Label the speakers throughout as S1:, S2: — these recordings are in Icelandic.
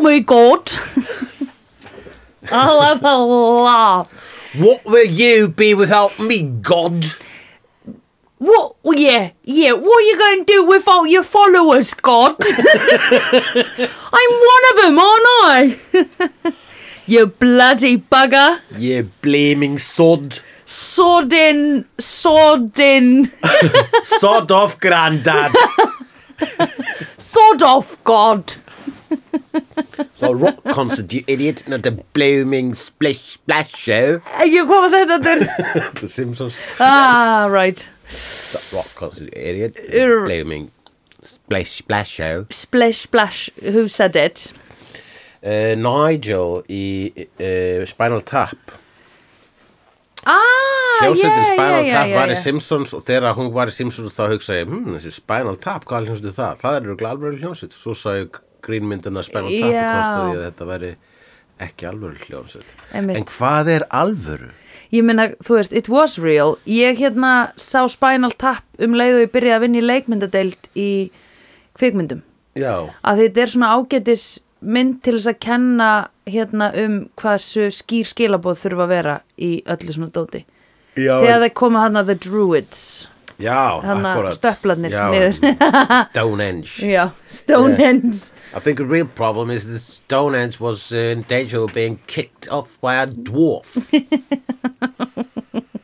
S1: my god. I love a laugh.
S2: What will you be without me, God?
S1: What? well, Yeah, yeah. What are you going to do without your followers, God? I'm one of them, aren't I? you bloody bugger.
S2: You blaming sod.
S1: Sodden, sodden,
S2: Sod off, Grandad.
S1: sod off, God.
S2: It's a rock concert, you idiot. Not a blooming splish splash show.
S1: Ég kom að þetta þurr.
S2: The Simpsons.
S1: Ah, right.
S2: It's a rock concert, you idiot.
S1: Er-
S2: blooming splish splash show.
S1: Splish, splash, who said it?
S2: Uh, Nigel í uh, Spinal Tap.
S1: Ah,
S2: Hljómsveitin
S1: yeah,
S2: Spinal
S1: yeah, yeah,
S2: Tap
S1: yeah,
S2: var í
S1: yeah.
S2: Simpsons og þegar hún var í Simpsons þá hugsaði ég, hmm, þessi Spinal Tap, hvað hljómsveit er það? Það eru alveg hljómsveit. Svo sá ég grínmyndina Spinal Tap og
S1: Já.
S2: kostaði að þetta væri ekki alvöru hljómsveit.
S1: Einmitt.
S2: En hvað er alvöru?
S1: Ég meina, þú veist, it was real. Ég hérna sá Spinal Tap um leið og ég byrjaði að vinna í leikmyndadeild í kvikmyndum.
S2: Já,
S1: Að þetta er svona ágætis mynd til þess að kenna hérna um hversu skýr skilabóð þurfa að vera í öllu svona dóti.
S2: já,
S1: Þegar það koma hann The Druids.
S2: já,
S1: Hanna
S2: akkúrat.
S1: stöplarnir
S2: Já, Stonehenge.
S1: Já, Stonehenge.
S2: I think the real problem is that Stonehenge was uh, in danger of being kicked off by a dwarf.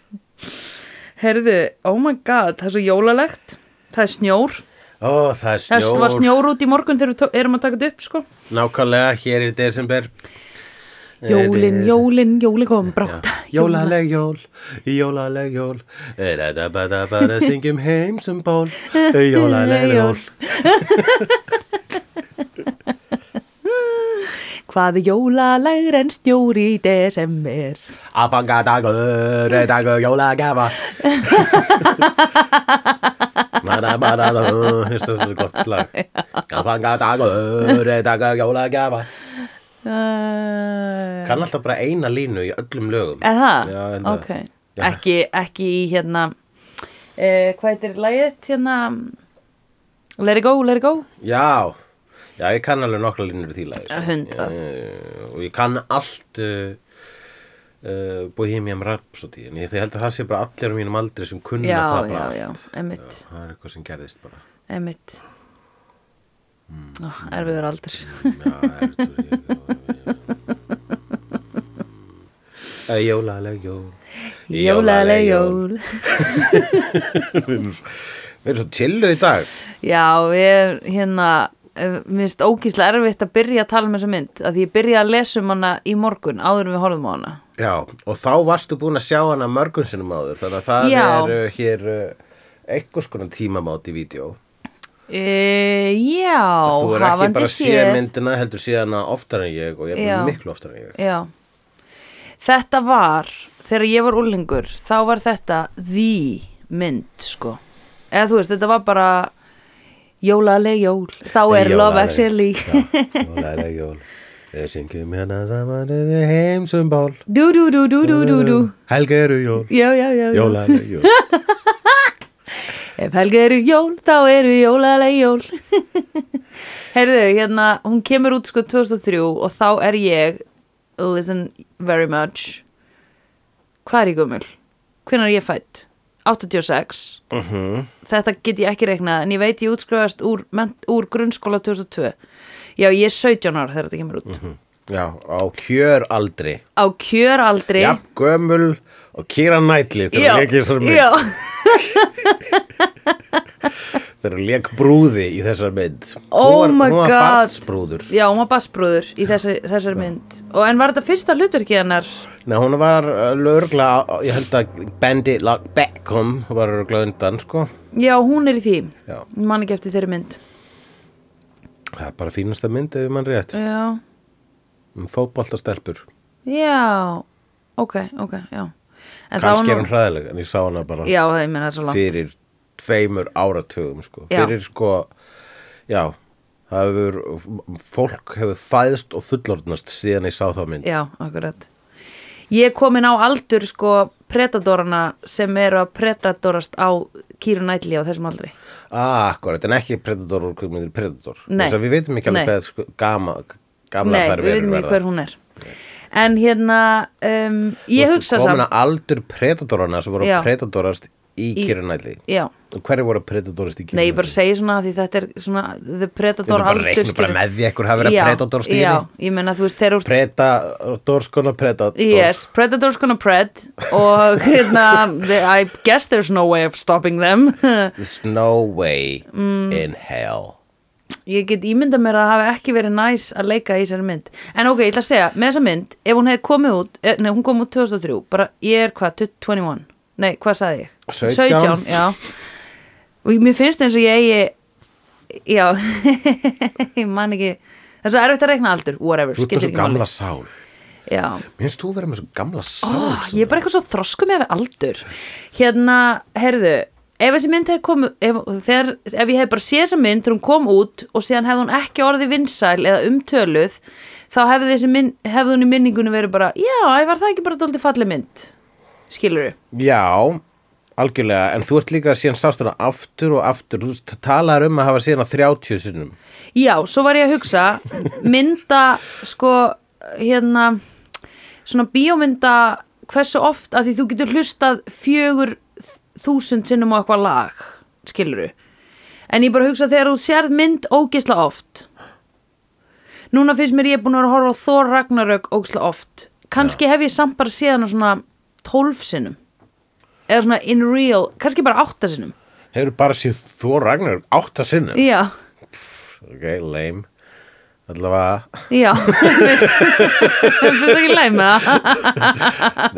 S1: Herðu, oh my god, það er svo jólalegt. Það er snjór.
S2: Ó, Oh, það er
S1: Það var
S2: snjór.
S1: snjór út í morgun þegar við tó- erum að taka þetta upp, sko.
S2: Nákvæmlega hér í desember.
S1: Jólin, jólin, jólin kom brátt.
S2: Jólaleg jól, jólaleg jól Da-da-ba-da-ba-da syngjum heim sem ból Jólaleg jól
S1: Hvað jólalegr en snjór í desember?
S2: Afangadagur, dagur jólagafa Ma-da-ba-da-da Hérstu þetta er gott slag Afangadagur, dagur jólagafa
S1: Uh,
S2: Kann alltaf bara eina línu í öllum lögum
S1: eða?
S2: Já, ég held að.
S1: ok.
S2: Já.
S1: Ekki, ekki í hérna, uh, hvað heitir lagið hérna? Let it go, let it go.
S2: Já, já, ég kann alveg nokkra línur í því lagi. sko.
S1: Hundrað.
S2: Eh, Og ég kann allt uh, uh, Bohemian Rhapsody, en ég ég held að það sé bara allir á mínum aldri sem kunna
S1: Já,
S2: Mm, það bara.
S1: já, já,
S2: allt.
S1: emitt,
S2: Það er eitthvað sem gerðist bara.
S1: emitt.
S2: Mm.
S1: Ó, Ah, erfiður aldur.
S2: Já, það er þetta. Eh, Jólaleg jól.
S1: Jólaleg jól.
S2: Við erum svo chillu í dag.
S1: Já, ég hérna eh, mér finnst ógíslega erfitt að byrja að tala um þessa mynd að því ég byrja að lesa um hana í morgun áður en við horfum á hana
S2: Já, og þá varstu búin að sjá hana mörgum sinnum áður, þannig að það
S1: Já.
S2: er uh, hér uh, einhvers konar tímamáti í vídeo.
S1: e, Já,
S2: Þú er ekki
S1: hafandi
S2: bara séð
S1: séð
S2: myndina, heldur séð hana oftar en ég og ég
S1: Já.
S2: er miklu oftar en ég.
S1: Já Þetta var, þegar ég var úlingur þá var þetta því mynd sko eða þú veist, þetta var bara jólaleg jól, þá er love
S2: Jólaleg.
S1: actually
S2: Já, jólaleg jól. Við syngjum hérna saman við heimsum ból.
S1: du du du du du du
S2: Uh.
S1: du
S2: Helgeru jól.
S1: Já, já, já, já.
S2: Jólaleg jól.
S1: Ef helgi eru jól, þá eru jólaleg jól. Herðu, hérna, hún kemur út sko 2003 og þá er ég, listen very much, hvað er ég gömul? Hvenær er ég fætt? 86. Þetta get ég ekki reiknað, en ég veit ég útskrifast úr, mennt, úr grunnskóla 2002. Já, ég er 17 ára þegar þetta kemur út.
S2: Já, á kjöraldri.
S1: Á kjöraldri.
S2: Já, gömul og kýra nætli
S1: já,
S2: þegar leikir þessar mynd.
S1: já,
S2: Þegar leik brúði í þessar mynd.
S1: Oh
S2: Hún var,
S1: my
S2: Hún var
S1: God.
S2: barnsbrúður.
S1: já, hún var bassbrúður í þessari, þessari mynd. Og en var þetta fyrsta hlutverkið hennar?
S2: Nei, hún var lögla, ég held að Bandit Lock Beckham var lögla undan, sko.
S1: Já, hún er í því.
S2: Já.
S1: Ég Man ekki eftir þeirri mynd.
S2: Það er bara fínasta mynd ef mann rétt.
S1: Já,
S2: Um fótboltastelpur.
S1: já, ok, ok, já. En þá
S2: Kannski
S1: nú-
S2: er hún hræðileg, en ég sá hana bara
S1: Já, ég meina það er svo langt.
S2: fyrir tveimur áratugum, sko.
S1: Já.
S2: Fyrir, sko, já, það hefur, fólk hefur fæðst og fullorðnast síðan ég sá þá mynd.
S1: Já, akkurat. Ég er komin á aldur, sko, predadorana sem eru að predadorast á Kýru Nætli á þessum aldri.
S2: Ah, akkurat, en ekki Predator úr kvikmyndir Predator.
S1: Nei.
S2: Þess að við veitum ekki
S1: Nei.
S2: alveg hvað sko, gama, gamla
S1: Nei,
S2: þær
S1: við veitum ekki hver hún er En hérna um, Ég hugsa
S2: komin
S1: samt
S2: að aldur predatorana sem voru
S1: Já.
S2: að predatorast í,
S1: Í-
S2: í kyrunæli
S1: Já,
S2: og hverju voru að predatorast í kyrunæli
S1: nei, ég bara segi svona af því þetta er svona The Predator
S2: bara
S1: aldur
S2: reiknum bara
S1: skilur.
S2: með því að ekkur hafi verið
S1: Já,
S2: að predator
S1: Já,
S2: stíði
S1: ég meina þú veist, þeir eru
S2: Predator skona predator
S1: Yes, Predator's gonna pred og hérna, the- I guess there's no way of stopping them
S2: There's no way
S1: Mm.
S2: in hell
S1: Ég get ímyndað mér að það hafi ekki verið næs að leika í þessari mynd En ok, ég ætla að segja, með þessa mynd ef hún hefði komið út, eh, nei hún kom út 2003 bara ég er hvað, 21 Nei, hvað sagði ég?
S2: 17.
S1: já Og ég- mér finnst eins og ég eigi Já, ég man ekki Það er svo erfitt að reikna aldur, whatever
S2: Þú ert með
S1: skiptir
S2: svo
S1: ekki máli.
S2: gamla sál
S1: Já
S2: Mér finnst þú vera með svo gamla sál
S1: oh, ég er bara eitthvað svo þrosku með aldur hérna, herðu ef þessi mynd hefði komið ef, þegar, ef ég hefði bara séð þessa mynd þegar hún kom út og síðan hefði hún ekki orðið vinsæl eða umtöluð þá hefði, þessi mynd, hefði hún í minningunum verið bara já, ég var það ekki bara dóldi falleg mynd skilur
S2: Já, algjörlega En þú ert líka síðan sást hana aftur og aftur Þú veist, talar um að hafa síðan að 30 sinnum
S1: já, svo var ég að hugsa mynda sko hérna svona bíómynda hversu oft að því þú getur hlustað fjögur þúsund sinnum á eitthvað lag skiluru en ég bara hugsa þegar þú sérð mynd ógisla oft núna finnst mér ég búin að vera að horfa á Thor Ragnarök ógisla oft kannski hef ég samt bara séð hana svona 12 sinnum eða svona in real, kannski bara 8 sinnum
S2: Hefur bara séð þú ragnar um átta sinnum
S1: já
S2: Ok, lame Allavega,
S1: Já, finnst það ekki leið með það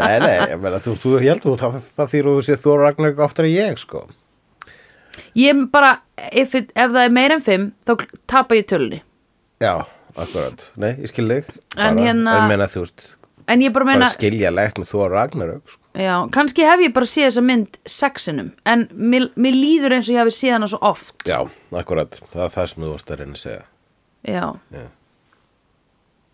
S2: nei, nei, ég meina, þú, þú, ég held þú, það, það þýr þú séð þú ragnar oftar en ég, sko.
S1: Ég bara, if, it, ef það er meira en fimm þá tapa ég tölunni
S2: Já, akkurat, nei, ég skil þig.
S1: En
S2: Bara,
S1: hérna-
S2: Ég meina, þú veist,
S1: En ég bara
S2: bara
S1: meina,
S2: skiljalegt með þú Ragnarök, sko.
S1: já, kannski hef ég bara séð þessa mynd sexinum En mér, mér líður eins og ég hafi séð hana svo oft
S2: Já, akkurat, það er það sem þú vart að reyna að segja.
S1: Já,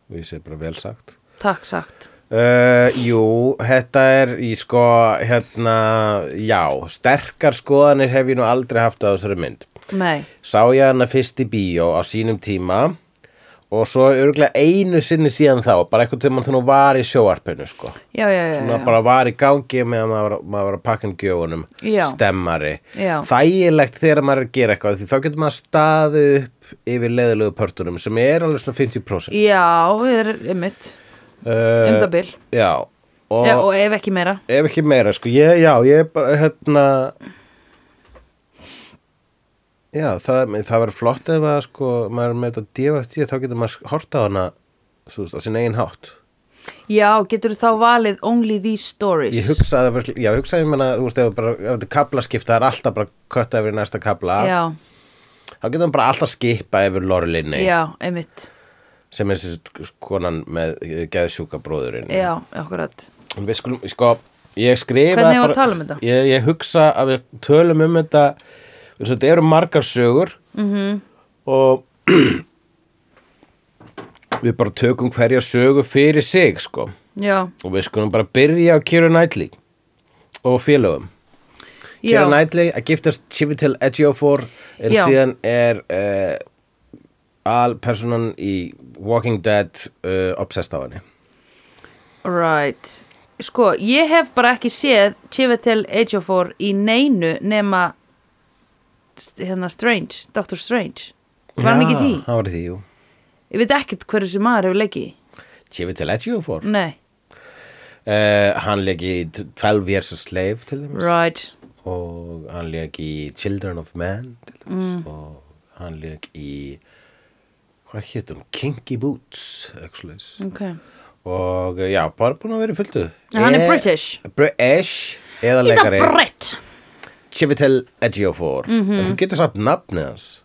S2: Og ég segi bara vel sagt.
S1: takk sagt
S2: Uh, jú, þetta er í sko, hérna, já, sterkar skoðanir hef ég nú aldrei haft á þessari mynd.
S1: Nei,
S2: Sá ég hana fyrst í bíó á sínum tíma og svo örgulega einu sinni síðan þá, bara eitthvað tímann þannig var í sjóarpinu, sko.
S1: já, já, já,
S2: svona
S1: já.
S2: bara var í gangi meðan maður, var- maður var að pakka inn gjöfunum
S1: Já.
S2: stemmari,
S1: Já.
S2: þægilegt þegar maður er að gera eitthvað, því þá getur maður staðu upp yfir leðilegu pörtunum sem er alveg svona 50%
S1: Já, ég er einmitt, um
S2: uh,
S1: það bil
S2: já, og,
S1: já, Og ef ekki meira
S2: ef ekki meira sko, ég, já, ég er bara hérna já, það, það verður flott ef að sko, maður er með þetta DFT þá getur maður horta á hana svo, veist, á sinna eigin hátt
S1: Já, getur þá valið only these stories
S2: Ég hugsaði, að vera- já, ég hugsaði, ég menna, þú veist, ef bara, ef þetta er kaplaskipta, það er alltaf bara kötta yfir í næsta kapla,
S1: Já,
S2: þá getum við bara alltaf skipa yfir lorlinni,
S1: já, einmitt
S2: sem er þessi konan með eh, geðsjúka bróðurinn.
S1: Já, akkurat
S2: En Við skulum, sko, ég skrifa
S1: Hvernig eigum við að tala um þetta?
S2: Ég, ég hugsa að við tölum um þetta, þú veist, þetta eru margar sögur mm
S1: Mhm.
S2: -hmm. og við bara tökum hverja sögu fyrir sig, sko,
S1: Já,
S2: og við skulum bara byrja á Kjöru Nætli og félögum.
S1: já,
S2: Keira Knightley að giftast Chivitel Ejiofor en
S1: Já.
S2: síðan er uh, alpersonan í Walking Dead uh, obsessed á henni
S1: right Sko, ég hef bara ekki séð Chivetel Ejiofor í neinu nema st- hérna Strange, Doctor Strange Var hann ekki í því?
S2: Það var í því, jú
S1: Ég veit ekkert hverju sem maður hefur leikið í.
S2: Chivitel Ejiofor uh,
S1: Nei,
S2: Hann leik í 12 Years a Slave til þeim
S1: right
S2: og hann leik í Children of Man til þeim
S1: Mm.
S2: og hann leik í hvað hétum? Kinky Boots actually.
S1: Ok,
S2: og eh, já, bara búin að vera í fulltu
S1: En hann er British.
S2: British eða
S1: he's a
S2: leikari
S1: Brit
S2: Chivitel Ejiofor
S1: Mhm.
S2: en þú getur satt nafnið hans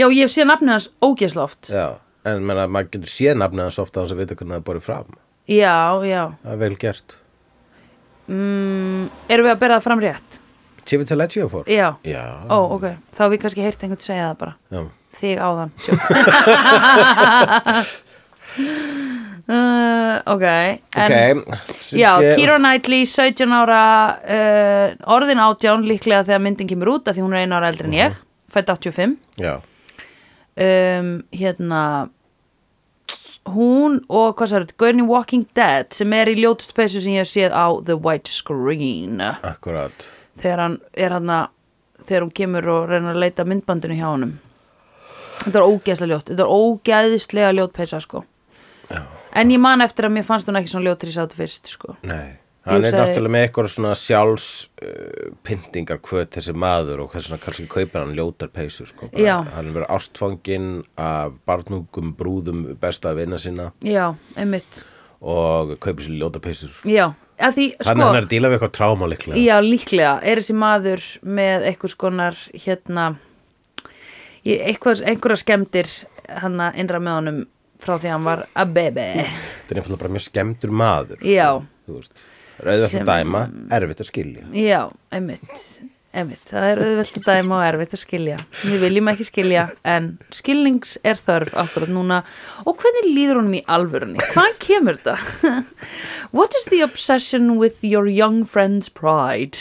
S1: Já, ég hef séð nafnið hans ógeðsla oft
S2: já. en menna, maður getur séð nafnið hans ofta hans að vita hvernig það er borðið fram
S1: Já, já
S2: það er vel gert
S1: mm, Erum við að bera það fram rétt?
S2: Chivitel Ejiofor
S1: Já,
S2: já,
S1: ó, ok Þá hef ég kannski heyrt einhvern segja það bara
S2: já.
S1: Þig áðan uh, Ok en,
S2: ok sem
S1: Já,
S2: sé-
S1: Keira Knightley, 17 ára uh, orðin átján líklega þegar myndin kemur út af því hún er einu ára eldri en ég fætt 85
S2: já,
S1: um, hérna hún og hvað sér þetta, Gurney Walking Dead sem er í ljótust peysu sem ég hef séð á The White Screen
S2: akkurat
S1: þegar hann er hann þegar hún kemur og reynir að leita myndbandinu hjá honum þetta er ógeðslega ljótt þetta er ógeðslega ljót peysa sko
S2: Já.
S1: en ég man eftir að mér fannst hún ekki svona ljótt þegar ég sá þetta fyrst sko
S2: Nei, hann er
S1: hugsaði-
S2: náttúrulega með eitthvað svona sjálfs uh, pyntingar hvöt þessi maður og hversna kannski kaupir hann ljótar peysur sko. Bara
S1: Já.
S2: Hann er verið ástfanginn af barnungum brúðum besta að vinna sína
S1: já, einmitt,
S2: og kaupir sér ljótar peysur.
S1: já að því, sko,
S2: Þannig að hann er að díla við eitthvað tráma líklega.
S1: já, líklega er þessi maður með einhvers konar hérna í- einhvers, einhverja skemmtir hann að innra með honum frá því að hann var að bebe
S2: Þetta er einfallega bara mjög skemmtur maður. sko.
S1: Já.
S2: Þú veist, rauðast
S1: Sem-
S2: að dæma, erfitt að skilja.
S1: Já, einmitt, einmitt. Það er auðvelt að dæma og erfitt að skilja. Við viljum ekki skilja, en skilnings er þörf akkurat núna. Og hvernig líður honum í alvörunni? Hvaðan kemur þetta? What is the obsession with your young friend's pride?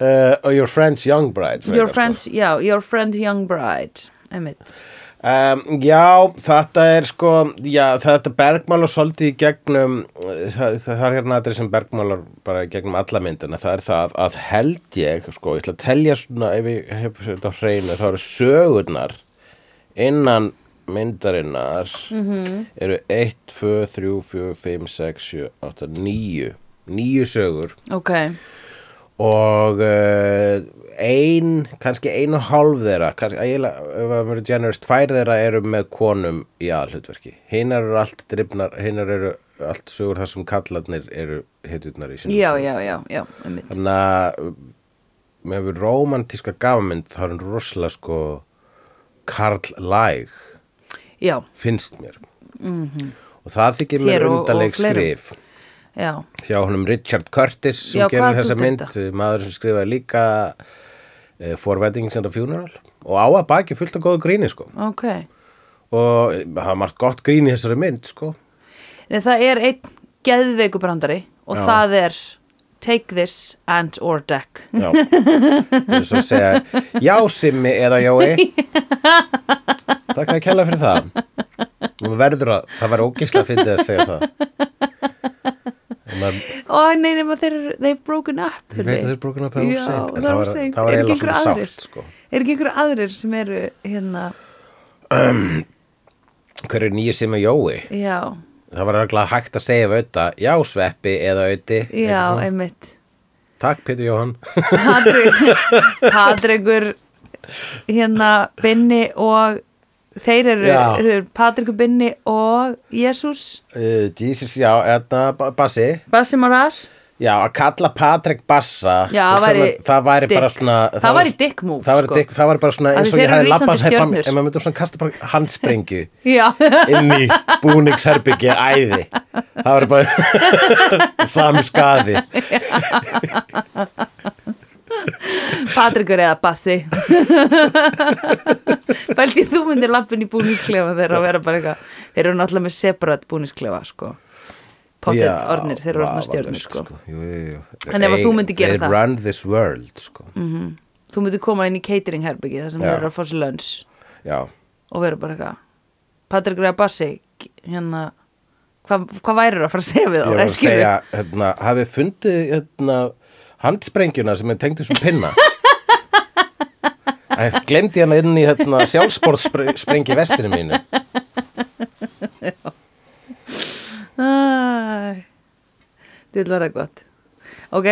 S2: Uh, og your friend's young bride. frekar,
S1: Your
S2: sko.
S1: friend's, já, your friend's young bride. Einmitt.
S2: Um, já, þetta er sko, já, þetta bergmálar svolítið í gegnum, uh, það, það er hérna aðrið sem bergmálar bara í gegnum alla myndina, það er það að held ég, sko, ég ætla að telja svona, ef ég hef þetta á hreinu, þá eru sögurnar innan myndarinnar eru 1, 2, 3, 4, 5, 6, 7, 8, 9, 9 sögur
S1: Ok,
S2: og uh, ein, kannski ein og hálf þeirra kannski, eiginlega, ef að vera generous tvær þeirra eru með konum í aðhlutverki hinnar eru allt drifnar hinnar eru allt sögur þar sem kallarnir eru hitutnar í sinni
S1: já, já, já, já, einmitt.
S2: þannig að uh, með við romantíska gafmynd þá er hann rosalega sko karlæg
S1: Já,
S2: finnst mér og það þykir mér
S1: Mhm. Þér og- og
S2: undaleg
S1: fleirum.
S2: skrif
S1: já,
S2: hjá honum Richard Curtis sem
S1: Já, hvað
S2: gerir þessa
S1: dútt
S2: mynd,
S1: þetta?
S2: maður sem skrifaði líka uh, For Weddings and a Funeral og á að baki fullt af góðu gríni sko.
S1: ok.
S2: og eh, það var margt gott gríni þessari mynd sko.
S1: Nei, það er einn geðveiku brandari og
S2: Já.
S1: það er take this and or deck.
S2: já Til þess að segja, já Simmi eða Jói takk að kella fyrir það og verður að, það var ógislega fyndið að segja það En maður,
S1: Ó, nei, nema þeir, eru- they've broken up
S2: ég veit að
S1: Hulli.
S2: þeir brókin að það
S1: Já,
S2: var seint en
S1: það
S2: það
S1: var
S2: var,
S1: seint.
S2: það var
S1: Er ekki
S2: eiginlega svona
S1: einhver aðrir?
S2: sárt sko.
S1: Er ekki einhverju aðrir sem eru hérna,
S2: hver er nýja Simmi Jói
S1: já,
S2: Það var alveg hægt að segja við auða, já sveppi eða auði.
S1: já, einmitt
S2: Takk Pétur Jóhann.
S1: Patrik- Patrikur hérna Binni og þeir eru,
S2: Já.
S1: þeir eru Patrikur Binni og Jésús
S2: Uh, Jesus, já, eða Ba- Bassi.
S1: Bassi Maras
S2: Já, að kalla Patrik Bassa.
S1: Já, það
S2: hugsanlega-
S1: væri
S2: það væri bara
S1: dick.
S2: svona.
S1: Það væri dick move,
S2: Það væri
S1: sko.
S2: dick, það væri bara svona
S1: Af
S2: eins
S1: því
S2: og ég
S1: þeir eru
S2: hefði
S1: rísandi
S2: labbað hér fram.
S1: stjörnur.
S2: En maður myndum svona kasta bara handsprengju
S1: já,
S2: inn í búningsherbyggið æði. Það væri bara sami skaði.
S1: Patrikur eða Bassi Bælti þú myndir lappin í búnisklefa þeirra að vera bara eitthvað þeir eru náttúrulega með separat búnisklefa sko pottet
S2: Já,
S1: ornir, þeir eru orðnir
S2: vafalaust,
S1: stjörnir sko.
S2: Jú, jú, jú.
S1: En ef að þú myndir gera
S2: They
S1: það? Mm.
S2: run this world, sko.
S1: þú myndir koma inn í catering herbyggi þar sem
S2: Já.
S1: þeir eru að fá sér lönns
S2: Já.
S1: og vera bara eitthvað Patrik Rea Bassi hérna, hvað hva værir að fara að segja við
S2: Ég
S1: þá?
S2: var
S1: Eh,
S2: að
S1: skilurðu?
S2: segja, hérna, hafið fundið hérna, handsprengjuna sem er tengd þessum pinna? Æ, Glemdi hana inn í hérna, sjálfsborðsprengi vestinu mínu.
S1: Æ, Þetta var það gott Ok,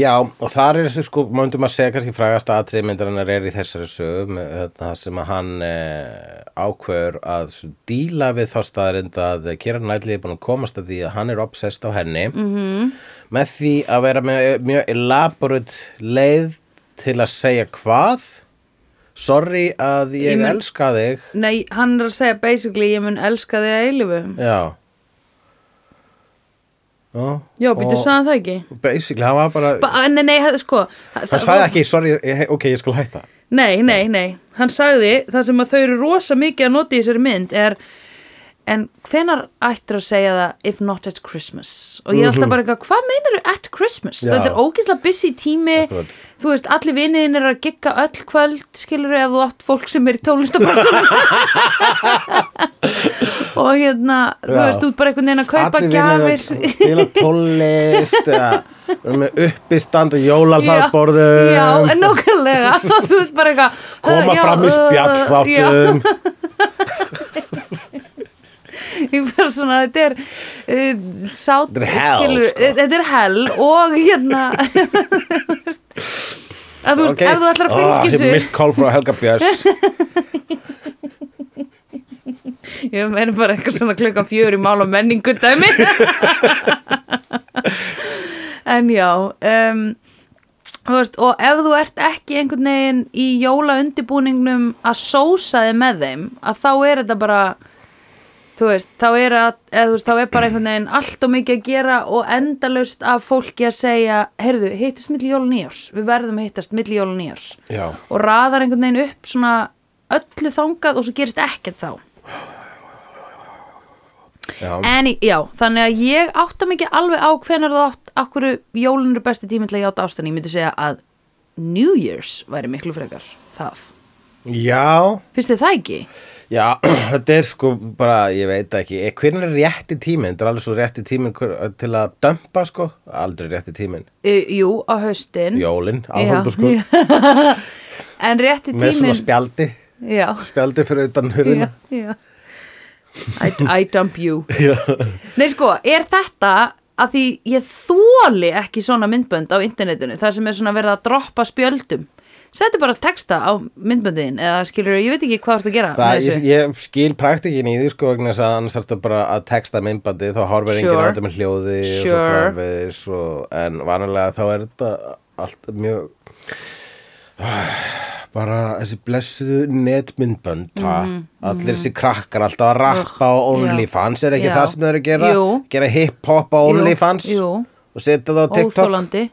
S2: Já, og þar er þessi sko, mjöndum að segja kannski frægast aðtrið myndarinnar er í þessari sögum, hérna, það sem að hann eh, ákveður að svo díla við þá staðarind að Kieran Knightley er búin að komast að því að hann er obsessed á henni
S1: Mhm.
S2: -hmm. með því að vera með eh, mjög elaborate leið til að segja hvað sorry að ég,
S1: Ég mun-
S2: elska þig
S1: nei, hann er að segja basically ég mun elska þig að eilifu
S2: Já Ó,
S1: Já, býttu
S2: og
S1: sagði það ekki
S2: Basically, hann var bara
S1: ba Nei, nei, hann- sko
S2: Hann sagði ekki, sorry, ég- ok, ég skal hætta
S1: Nei, nei, nei, hann sagði það sem að þau eru rosa mikið að nota í þessari mynd er en hvenar ættir að segja það if not at Christmas og ég er alltaf bara eitthvað, hvað meinar þú at Christmas
S2: Mhm. Já.
S1: þetta er ógeðslega busy tími
S2: Akkurat.
S1: þú veist, allir vinniðin eru að gigga öll kvöld skilur ef þú átt fólk sem er í tónlistabansanum og hérna, þú
S2: Já.
S1: veist, þú ert bara einhvern veginn að kaupa
S2: Allir vinir að
S1: gjafir
S2: spila tónlist eða vera með uppistand og jólalbarborðum
S1: Já, já, nákvæmlega Þú veist bara eitthvað
S2: koma
S1: já,
S2: fram í
S1: uh,
S2: spjallfáttum
S1: já, Ég bara svona, þetta er uh, Sátt
S2: Þetta er hell,
S1: skilur- uh,
S2: sko.
S1: Þetta er hell og hérna Að þú veist,
S2: Ok.
S1: ef þú ætlar að
S2: Ah,
S1: fylgja
S2: ég
S1: þessu
S2: mist call frá Helga Björns
S1: Ég meina bara eitthvað svona klukka fjör í mál og menningu dæmi En já um, þú veist, og ef þú ert ekki einhvern veginn í jólaundibúningnum að sósa þig með þeim að þá er þetta bara þú veist, þá er, að, eða, þú veist, þá er bara einhvern veginn allt og mikið að gera og endalaust af fólki að segja heyrðu, hittist milli jóla og nýjárs við verðum að hittast milli jóla og nýjárs
S2: já,
S1: og raðar einhvern veginn upp svona öllu þangað og svo gerist ekkert þá
S2: já,
S1: En í- já, þannig að ég átta mikið alveg á hvenar þú átt okkur jólun eru besti tími til að játa ástinni, ég myndi segja að New Year's væri miklu frekar það.
S2: já.
S1: Finnst þið það ekki?
S2: Já, þetta er sko bara, ég veit ekki, eh, hvernig er rétti tíminn? Þetta er alveg svo rétti tíminn hver, eh, til að dömpa sko, aldrei rétti tíminn.
S1: E, jú, á haustin.
S2: Jólin, áhaldur sko,
S1: En rétti
S2: með svona
S1: tíminn...
S2: spjaldi,
S1: Já,
S2: spjaldi fyrir utan
S1: já,
S2: hurðina.
S1: já. I, I dump you.
S2: Já.
S1: Nei sko, er þetta að því ég þóli ekki svona myndbönd á internetinu, það sem er svona verið að droppa spjöldum. Settu bara texta á myndböndin eða skilur, ég veit ekki hvað þú ert að gera
S2: Það,
S1: með
S2: ég,
S1: þessu.
S2: ég skil praktikin í því sko, vegna þess að annars þarf bara að texta myndbandi, þá horfir enginn
S1: Sure.
S2: á þetta með hljóði og svo
S1: Sure.
S2: framvegis og, en vanalega þá er þetta allt mjög, bara þessi blessuðu netmyndbönd
S1: Mhm,
S2: mm, allir þessi krakkar alltaf að rappa á OnlyFans er ekki
S1: já.
S2: það sem þau eru að gera
S1: Jú.
S2: gera hip-hop á OnlyFans
S1: jú.
S2: og setja það á TikTok
S1: Óþólandi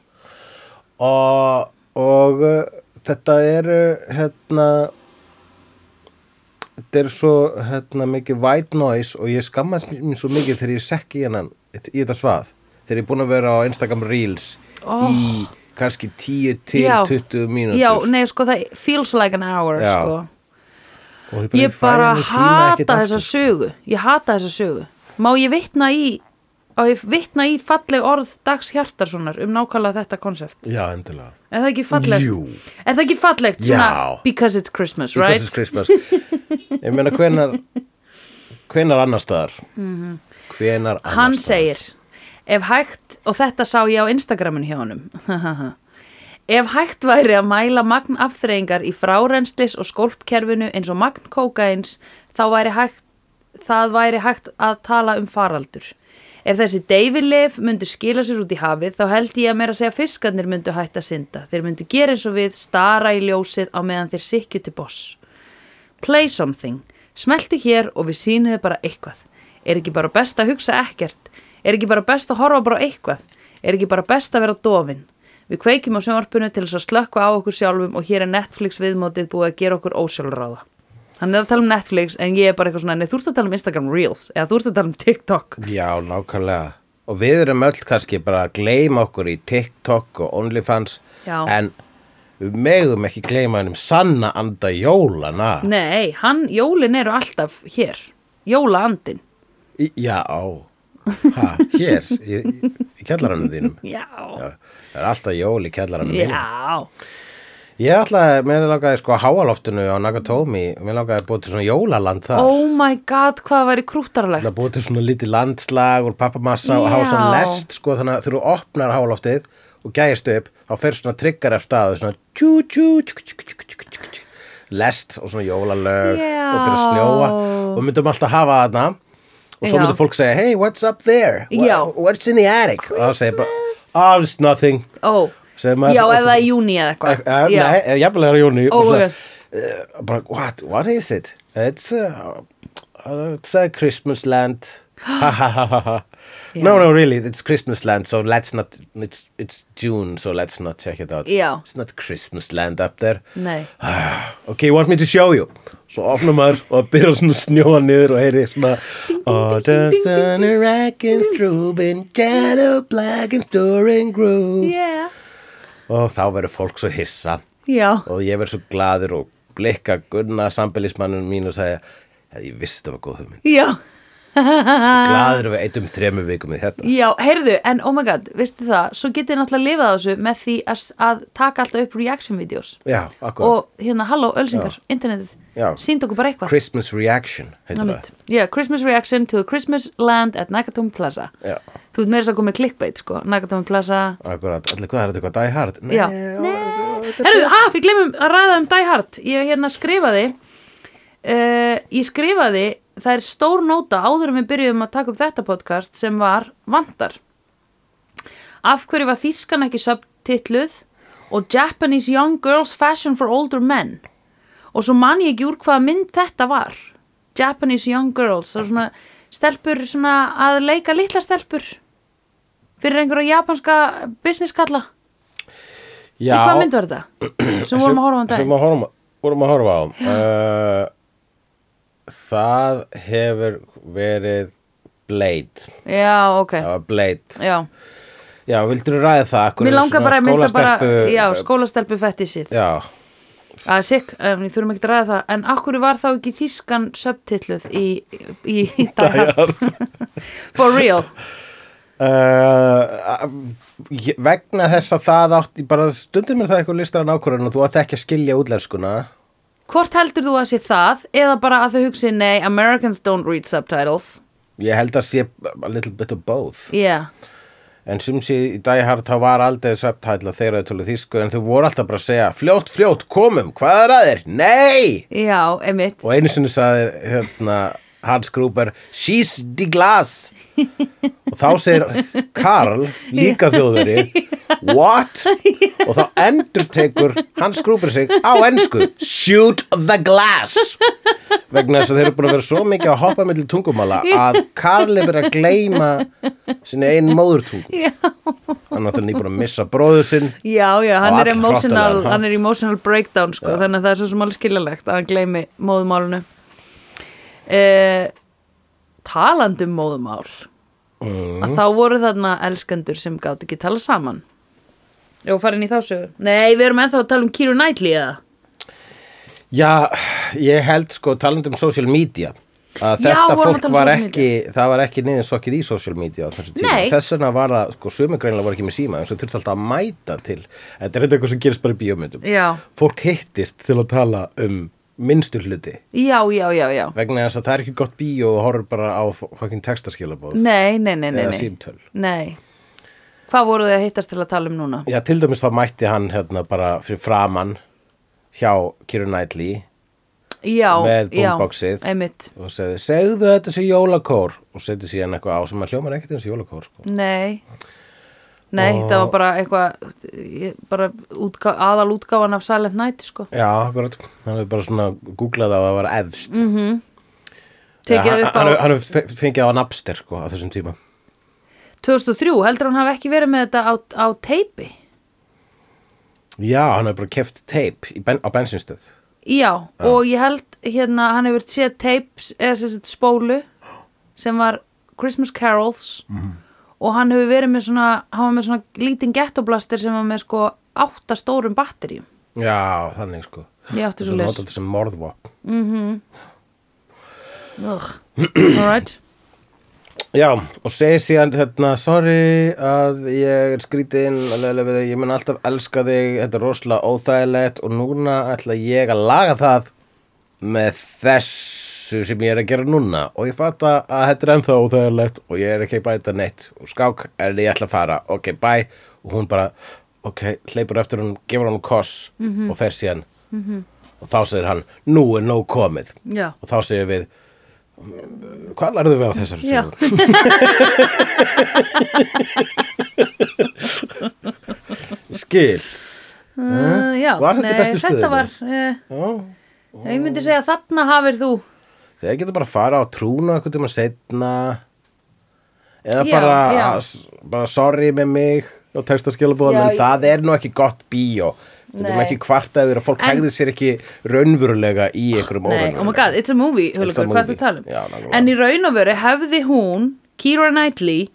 S2: og, og uh, þetta er uh, hérna þetta er svo hérna mikið white noise og ég skammast mér svo mikið þegar ég sekk í hennan í þetta svað þegar ég er búin að vera á Instagram Reels í kannski 10 til
S1: Oh. Já.
S2: 20 mínútur
S1: Já, nei, sko, það feels like an hour
S2: Já.
S1: sko.
S2: Og
S1: Ég
S2: fæ
S1: bara
S2: henni tíma ekkert
S1: hata
S2: aftur.
S1: þessa sögu Ég hata þessa sögu Má ég vitna í Má ég vitna í falleg orð Dags Hjartarssonar um nákvæmlega þetta konsept
S2: Já, endilega
S1: Er það ekki fallegt?
S2: Jú.
S1: Er það ekki fallegt?
S2: Já.
S1: because it's Christmas,
S2: Because
S1: right?
S2: it's Christmas Ég meina hvenar hvenar annar staðar hvenar annar
S1: Mhm. Hann
S2: staðar
S1: segir Ef hægt, og þetta sá ég á Instagramun hjá honum Ef hægt væri að mæla magn afþreyingar í frárenslis og skólpkerfinu eins og magn kókains þá væri hægt það væri hægt að tala um faraldur Ef þessi deyfilif myndu skila sér út í hafið þá held ég að meira að segja fiskarnir myndu hægt að synda þeir myndu gera eins og við stara í ljósið á meðan þeir sikju til boss Play something. Smeltu hér og við sýnum þið bara eitthvað. Er ekki bara best að hugsa ekkert? Er ekki bara best að horfa bara á eitthvað? Er ekki bara best að vera dofin? Við kveikjum á sjónvarpinu til þess að slökka á okkur sjálfum og hér er Netflix viðmótið búið að gera okkur ósjálfráða. Hann er að tala um Netflix en ég er bara eitthvað svona, nei þú ert að tala um Instagram Reels eða þú ert að tala um TikTok.
S2: Já, nákvæmlega og við erum öll kannski bara að gleyma okkur í TikTok og OnlyFans
S1: Já.
S2: en við megum ekki gleyma hennum sanna anda jólana
S1: Nei, hann, jólin eru alltaf hér. Jólaandin.
S2: Í- Já, á ha, hér, í, í- í kjallaranum þínum
S1: Já.
S2: Já, það er alltaf jól í kjallaranum þínum
S1: Já.
S2: Ég ætlaði, mér langaði sko að háaloftinu á Nakatomi, mér langaði að búa til svona jólaland þar.
S1: Oh my god, hvað væri
S2: Það
S1: krúttarlegt.
S2: búið til svona lítið landslag úr pappamassa og
S1: Já.
S2: hafa svona lest sko þannig að þegar þú opnar hálóftið og gæjast upp þá fer svona trigger af staðu svona tjú tjú tjú tjú tjú tjú tjú tjú lest og svona jólalög
S1: Já.
S2: og byrja að snjóa og myndum alltaf hafa þarna og svo
S1: Já.
S2: myndum fólk segja hey what's up there What,
S1: Já.
S2: what's in the attic og það segir bara oh it's nothing
S1: Ó,
S2: Segir maður-
S1: já, eða í júni eða
S2: Eh,
S1: eitthvað.
S2: eh,
S1: Já.
S2: nei, eh, jafnvel er í júni
S1: Ó,
S2: og svona,
S1: ok.
S2: eh, bara what, what is it it's a, uh, it's a Christmas land Ha, ha, ha, ha, ha. no
S1: Já.
S2: no really it's Christmas land so let's not it's, it's June so let's not check it out
S1: Já.
S2: it's not Christmas land up there
S1: Nei.
S2: ok you want me to show you svo opnar maður og það byrjar svona að snjóa niður og heyri svona Oh, the sun a racking through in shadow black and storing groove
S1: Yeah.
S2: og þá verður fólk svo hissa
S1: Já.
S2: og ég verð svo gladur og blikka Gunna sambilismannum mín og segja "Ja, ég vissi þetta var góð hugmynd
S1: Já. Ah.
S2: Gladur við eitt um þremur vikum við þetta
S1: Já, heyrðu, en oh my god, veistu það, svo getið þið náttúrulega lifað á þessu með því að, að taka alltaf upp reaction videos
S2: Já, akkurat
S1: og hérna, halló, ölsingar, internetið,
S2: Já.
S1: sínd okkur bara eitthvað.
S2: Christmas Reaction heitir
S1: Einmitt. Já, Christmas reaction to Christmas land at Nakatomi Plaza.
S2: það Já,
S1: Þú ert meira þess að koma með clickbait, sko, Nakatomi Plaza.
S2: akkurat, allir hvað er þetta eitthvað Die Hard? Nei,
S1: Já. Herru, að, við glemum að ræða um Die Hard. Ég hérna skrifaði, uh, ég skrifaði, það er stór nóta áður en við byrjuðum að taka upp þetta podcast sem var Vandar. Af hverju var Þískan ekki subtitluð og Japanese Young Girls Fashion for Older Men. Og svo man ég ekki úr hvaða mynd þetta var. Japanese Young Girls, það er svona stelpur svona að leika litla stelpur fyrir einhverja japanska businesskalla.
S2: Já,
S1: Í hvað mynd var þetta? Sem vorum að horfa á um
S2: Sem
S1: daginn?
S2: að horfa, vorum að horfa á uh, Það hefur verið Blade
S1: Já, ok.
S2: Það var Blade
S1: Já.
S2: Já, vildur ræða það? Akkur
S1: Mér
S2: er
S1: langar
S2: svona
S1: bara að mista bara,
S2: skólastelpu-
S1: já, sko. skólastelpu fettisíð.
S2: Já,
S1: Það er sikk, um, ég þurfum ekki að ræða það. En akkur var þá ekki þískan subtitluð í, í, í Die Hard? For real.
S2: Uh, ég- vegna þess að það átti bara stundum er það eitthvað listar að nákvæmur og þú átt ekki að skilja útlenskuna
S1: Hvort heldur þú að sé það eða bara að þau hugsi nei, Americans don't read subtitles?
S2: ég held að sé a little bit of both
S1: Yeah.
S2: en sem sé í Die Hard þá var aldrei subtitla þeirra tölu þýsku en þau voru alltaf bara að segja fljótt, fljótt, komum, hvað er að þér? Nei!
S1: Já, emitt.
S2: og einu sinni sagði hérna Hans Gruber, she's the glass og þá segir Karl, líka þjóðveri what? og þá endur tekur Hans Gruber sig á ensku, shoot the glass vegna þess að þeir eru búin að vera svo mikið að hoppa millir tungumála að Karl er verið að gleyma sinni einn móðurtungu
S1: Já.
S2: hann er náttúrulega nýbúin að missa bróður sinn
S1: Já, já, hann
S2: Og
S1: er,
S2: allhrottalegan
S1: emotional,
S2: hátt.
S1: hann er emotional breakdown sko, þannig að það er svo sem alveg skiljalegt að hann gleymi móðumálunu eh, Talandi um móðumál
S2: Mm.
S1: að þá voru þarna elskendur sem gátt ekki tala saman Jó, farin í þá sögur Nei, við erum ennþá að tala um Kýru Nætli eða
S2: Já, ég held sko talandi um social media að
S1: Já,
S2: þetta
S1: vorum að
S2: fólk
S1: tala um
S2: var
S1: social
S2: ekki, það var ekki niður sokkið í social media á þessu tíma
S1: Nei.
S2: þess vegna var það, sko, sömu greinlega voru ekki með síma eins og þurfti alltaf að mæta til þetta er þetta eitthvað sem gerist bara í bíómyndum
S1: Já,
S2: fólk hittist til að tala um minnstu hluti
S1: já, já, já, já
S2: vegna þess að það er ekki gott bíó og horfir bara á fokkin textaskilabóð
S1: Nei, nei, nei, nei,
S2: eða
S1: nei.
S2: símtöl
S1: nei. Hvað voru þau að hittast til að tala um núna?
S2: Já, til dæmis þá mætti hann hérna bara fyrir framann hjá Kieran Knightley
S1: Já,
S2: Með
S1: já,
S2: boomboxið.
S1: Einmitt
S2: og segði, segðu þetta sé jólakór og setja síðan eitthvað á sem að hljómar ekkert eins og jólakór sko.
S1: Nei Nei, þetta var bara eitthvað ég- bara útgá, aðal útgáfan af Silent Night sko.
S2: já, akkurat, hann hefur bara svona googlað á að vera efst mm,
S1: Tekið upp á
S2: hann, hann hefur fe- fengið á Napster sko, á þessum tíma
S1: 2003, heldur hann hafi ekki verið með þetta á, á teipi
S2: já, hann hefur bara keft teip í ben, á bensinstöð
S1: Já, og ég held hérna hann hefur séð tapes eða sem sagt spólu sem var Christmas Carols
S2: Mhm.
S1: og hann hefur verið með svona hann var með svona lítinn gettoblaster sem var með sko átta stórum batteríum
S2: já, þannig sko
S1: ég átti svo
S2: Þetta
S1: les
S2: nota þetta sem morðvop
S1: Ugh. All right
S2: já, og segi síðan hérna, sorry að ég er skrítinn alveg, ég mun alltaf elska þig þetta er rosalega óþægilegt og núna ætla ég að laga það með þessu sem ég er að gera núna og ég fatta að þetta er ennþá óþægilegt og ég er ekki að bæta neitt og skák en ég ætla að fara, ok, bye og hún bara, ok, hleypur eftir hún gefur hún koss og fer síðan og þá segir hann, nú er nóg komið
S1: Já.
S2: og þá segir við hvað lærðu við á þessari
S1: Já.
S2: sögu? Skil
S1: Uh, já,
S2: Eh? Var þetta í
S1: nei,
S2: bestu
S1: þetta
S2: stöðinni?
S1: var, uh,
S2: Já,
S1: ég myndi segja þarna hafir þú
S2: Þegar getur bara að fara á trúna eitthvað tíma setna eða
S1: Já,
S2: bara,
S1: já.
S2: bara sorry með mig og textaskilabóðum
S1: Já,
S2: en
S1: ég-
S2: það er nú ekki gott bíó við getum
S1: Nei.
S2: ekki kvartað yfir að fólk
S1: En-
S2: hegði sér ekki raunverulega í einhverjum
S1: Nei, oh my god, it's a movie,
S2: It's a
S1: Hulgur, hvað
S2: movie.
S1: ertu að tala um?
S2: Já, nákvæmlega.
S1: en í raun og veru hefði hún, Keira Knightley,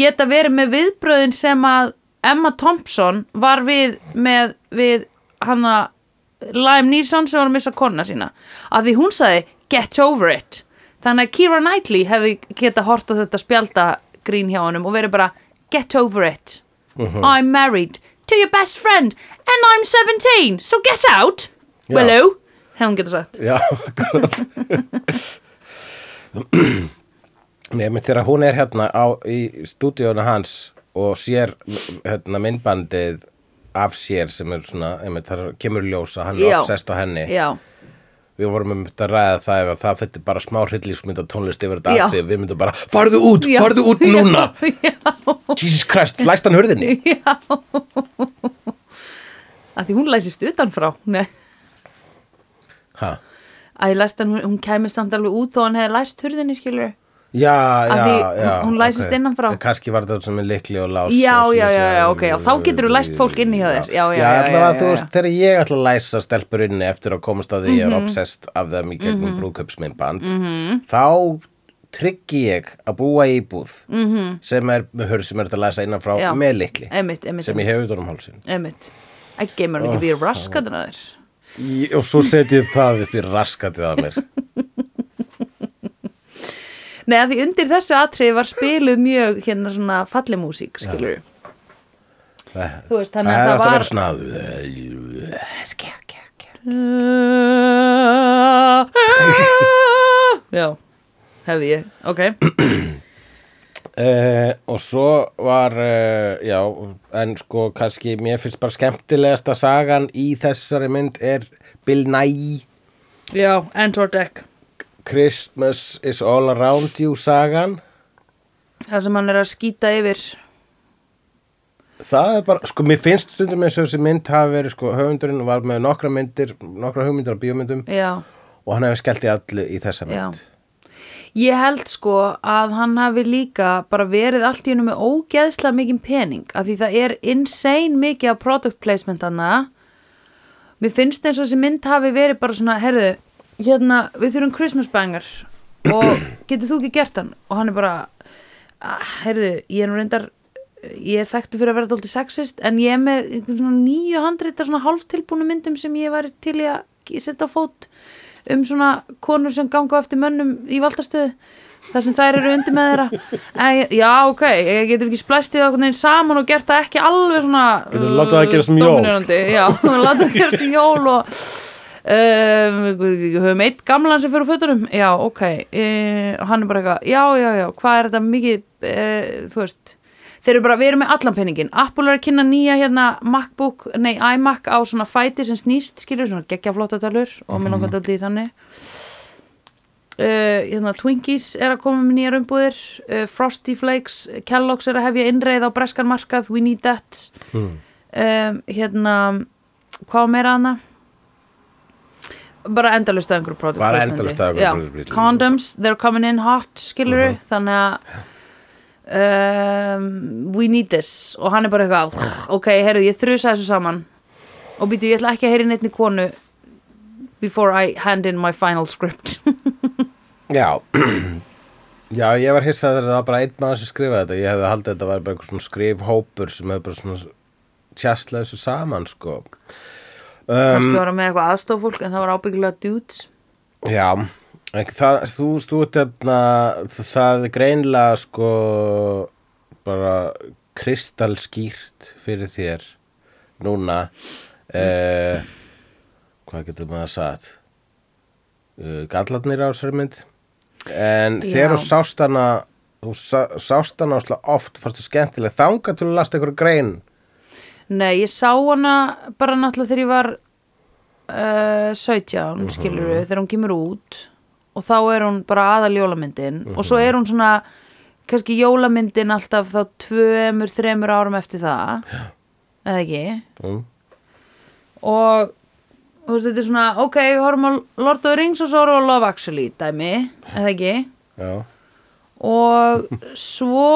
S1: geta verið með viðbröðin sem að Emma Thompson var við með, við hana Lime Neeson sem var að missa konna sína. Að því hún sagði, get over it. þannig að Keira Knightley hefði geta hort á þetta spjalda grín hjá honum og verið bara get over it
S2: Mhm.
S1: I'm married to your best friend and I'm 17 so get out
S2: Já.
S1: Willow hefði hún geta sagt
S2: Já, akkurat Nei, menn þegar hún er hérna á, í stúdíónu hans og sér hérna, myndbandið af sér sem er svona, einmitt, þar kemur ljósa, hann er
S1: Já.
S2: obsessed á henni
S1: Já,
S2: við vorum um þetta að ræða það ef að það þetta er bara smá hryllísmynd og tónlist yfir þetta
S1: Já.
S2: að því við myndum bara, farðu út,
S1: Já.
S2: farðu út núna
S1: já,
S2: Jesus Christ, læst hann hurðinni
S1: já að því hún læsist utanfrá Nei,
S2: ha.
S1: að ég læst hann, hún, hún kæmi samt alveg út þó hann hefði læst hurðinni skilur
S2: Já,
S1: Af
S2: já,
S1: því hún-
S2: já
S1: hún læsist
S2: ok.
S1: innanfrá.
S2: Kanski var þetta sem er likli og lás
S1: Já,
S2: og
S1: já,
S2: svona
S1: já, já,
S2: sem-
S1: ok, já, þá geturðu læst fólk inni hjá þér. Já, já,
S2: Já,
S1: já, já,
S2: allavega
S1: já,
S2: þú
S1: já,
S2: veist,
S1: já.
S2: þegar ég ætla að læsa stelpur inni eftir að komast að því ég er obsessed af þeim í gegnum mm brúköpsmyndband þá tryggi ég að búa í íbúð -hmm. sem er með hörð sem er þetta að læsa innanfrá
S1: Já.
S2: með likli
S1: Einmitt, einmitt,
S2: sem ég hef utan um hálsinn
S1: einmitt ekki geymur hann ekki því raskatinn að þér
S2: Í- og svo setjum það upp í raskatið að mér
S1: Nei, að því undir þessu atriði var spiluð mjög hérna svona fallimúsík, skilur Þú veist, þannig að
S2: er
S1: það
S2: átt að
S1: var
S2: vera svona skjá, skjá, skjá
S1: Já, hefði ég, ok
S2: Uh, og svo var uh, já, en sko kannski mér finnst bara skemmtilegasta sagan í þessari mynd er Bill Nye
S1: Já, Endor Deck
S2: Christmas is all around you sagan
S1: Það sem hann er að skýta yfir
S2: það er bara, sko mér finnst stundum eins og þessi mynd hafi verið, sko höfundurinn var með nokkra myndir, nokkra hugmyndir á bíómyndum
S1: Já,
S2: og hann hefði skellt í allu í þessa mynd
S1: ég held sko að hann hafi líka bara verið allt í hennu með ógeðslega mikið pening af því það er insane mikið af product placement hana mér finnst eins og þessi mynd hafi verið bara svona, herðu, hérna við þurfum Christmas banger og getur þú ekki gert hann og hann er bara, "Ah, herðu, ég er nú reyndar ég er þekktu fyrir að vera dálítið sexist en ég er með einhver svona 900 svona hálftilbúnu myndum sem ég væri til í að setja á fót um svona konur sem ganga á eftir mönnum í valdastöðu þar sem þær eru undir með þeirra en, já ok, ég getur ekki splæstið okkur neginn saman og gert það ekki alveg svona uh,
S2: Getur látið það að gerast um jól.
S1: dominerandi, já, látið það gerast um jól og um, við höfum eitt gamlan sem fyrir fötunum já ok, uh, hann er bara eitthvað já já já, hvað er þetta mikið uh, þú veist Þeir eru bara, við erum með allan peningin. Apple er að kynna nýja hérna MacBook, nei iMac á svona fæti sem snýst, skilur, svona geggja flottatölur og mér langar þetta í þannig. Uh, hérna, Twinkies er að koma með nýjar umbúðir, uh, Frosty Flakes, Kellogg's er að hefja innreið á breskan markað, We Need That.
S2: Mm.
S1: Um, hérna, hvað var meira hana? Bara endalust að einhverju product
S2: Bara
S1: placementi.
S2: endalaust að einhverju Mhm.
S1: Já.
S2: product placementi.
S1: Condoms, they're coming in hot, skilur, þannig að um, we need this og hann er bara eitthvað ok, heyrðu, ég þrusa þessu saman og býtu, ég ætla ekki að heyri neittni konu before I hand in my final script
S2: já já, ég var hissað þegar það var bara einn maður sem skrifaði þetta, ég hefði haldið að þetta var bara einhver svona skrifhópur sem hefði bara svona tjastlega þessu saman sko
S1: kannski var hann með eitthvað aðstofólk en það var ábyggilega dudes
S2: Já, en það, þú stúdefna, það er greinlega sko bara kristalskýrt fyrir þér núna. Eh, hvað getur maður sagt? Eh, Gallarnir á þessari mynd. En þegar
S1: Já.
S2: þú sást hana, þú sá, sást hana óslega oft, fannst þú skemmtileg þanga til að lasta ykkur grein.
S1: Nei, ég sá hana bara náttúrulega þegar ég var uh, 17, skilur við, þegar hún kemur út og þá er hún bara aðal jólamyndin og svo er hún svona, kannski jólamyndin alltaf þá tveimur, þremur árum eftir það, eða ekki?
S2: Mm.
S1: og þú veist, þetta er svona, ok, við horfum á Lord of the Rings og svo horfum við á Love Actually, dæmi, eða ekki?
S2: Já,
S1: og svo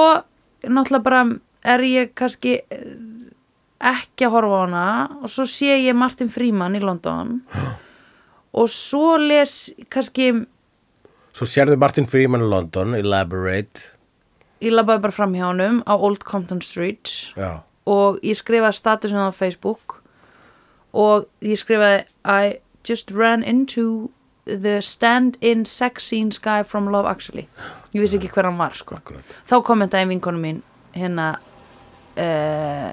S1: náttúrulega bara er ég kannski eh, ekki að horfa á hana og svo sé ég Martin Freeman í London og svo les kannski,
S2: svo sérðu Martin Freeman í London, Elaborate.
S1: ég labbaði bara fram hjá honum á Old Compton Street
S2: Já,
S1: og ég skrifaði hérna statusinn á Facebook og ég skrifaði I just ran into The Stand-in Sex Scenes Guy from Love Actually ég vissi ekki hver hann var sko
S2: akkurat
S1: þá kommentaði vinkonu mín hérna uh,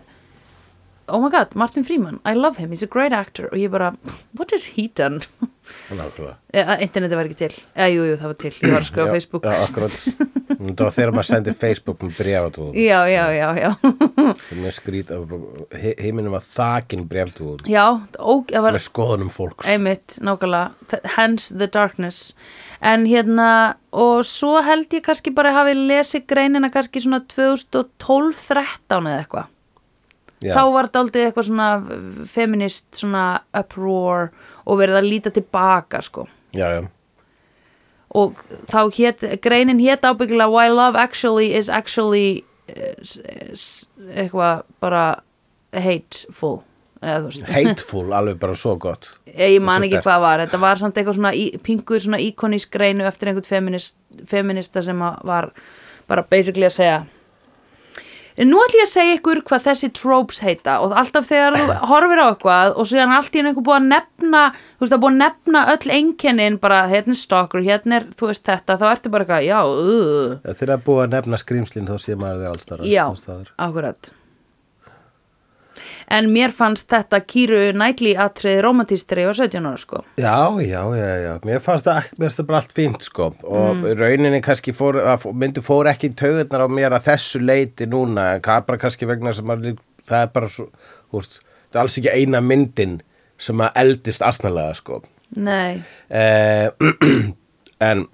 S1: oh my god, Martin Freeman I love him, he's a great actor og ég bara, what has he done?
S2: Nákvæmlega.
S1: Eh, internetið var ekki til, eða jú, jú, það var til ég var sko á
S2: Já,
S1: Facebook
S2: Já, akkurat Það var þegar maður sendir Facebook með brefatúðum
S1: já, já, já, já,
S2: Mér skrýt að heiminum var þakin brefatúðum
S1: já ó, það var
S2: með skoðunum fólks
S1: einmitt, nákvæmlega Th- hence the darkness en hérna, og svo held ég kannski bara hafi lesið greinina kannski svona 2012-13 eða eitthvað
S2: Já.
S1: þá var þetta aldrei eitthvað svona eh, feminist, svona uproar og verið að líta tilbaka sko
S2: Já, já,
S1: og þá hét, greinin hét ábyggilega Why Love Actually is Actually eh, s- s- eitthvað bara hateful eða þú veist
S2: hateful, alveg bara svo gott
S1: Eh, ég ég man
S2: Svo
S1: ekki
S2: sterkt.
S1: hvað var, þetta var samt eitthvað svona í, pingu svona íkonísk greinu eftir einhvern feminist, feminista sem að var bara basically að segja En nú ætlum ég að segja ykkur hvað þessi tropes heita og alltaf þegar þú horfir á eitthvað og síðan allt í einu einhver búið að nefna þú veist að búið að nefna öll einkennin bara hérna er stalker, hérna er þú veist þetta þá ertu bara eitthvað, já, uh,
S2: Þegar það er búið að nefna skrýmslin þá sé maður þið allstara
S1: Já, akkurat En mér fannst þetta kýru nætli atriði romantistri á 17 ára sko
S2: Já, já, já, já, mér fannst það, mér fannst það bara allt fínt sko og
S1: Mm.
S2: rauninni kannski fór, að fó- myndi fór ekki í taugarnar á mér að þessu leiti núna en það er bara kannski vegna sem að það er bara svo, húst, það er alls ekki eina myndin sem að eldist asnalega sko
S1: Nei
S2: eh, en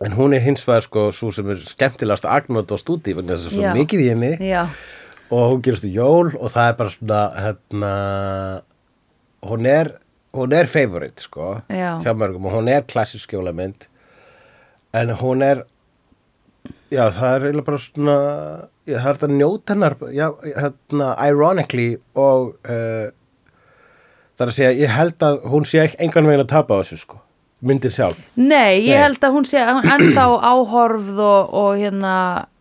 S2: en hún er hins vegar sko svo sem er skemmtilegast að agnóta á stúdí vegna þess að svo
S1: Já.
S2: mikið í henni
S1: Já,
S2: og hún gerist í jól og það er bara svona hérna, hún er hún er favorite sko
S1: Já.
S2: hjá mörgum og hún er klassisk jólamynd en hún er já það er eiginlega bara svona já, það er þetta njóta hennar já, hérna, ironically og uh, það er að segja ég held að hún sé ekki engan veginn að tapa á þessu sko myndin sjálf
S1: Nei, ég
S2: Nei.
S1: held að hún sé hún ennþá áhorfð og, og hérna,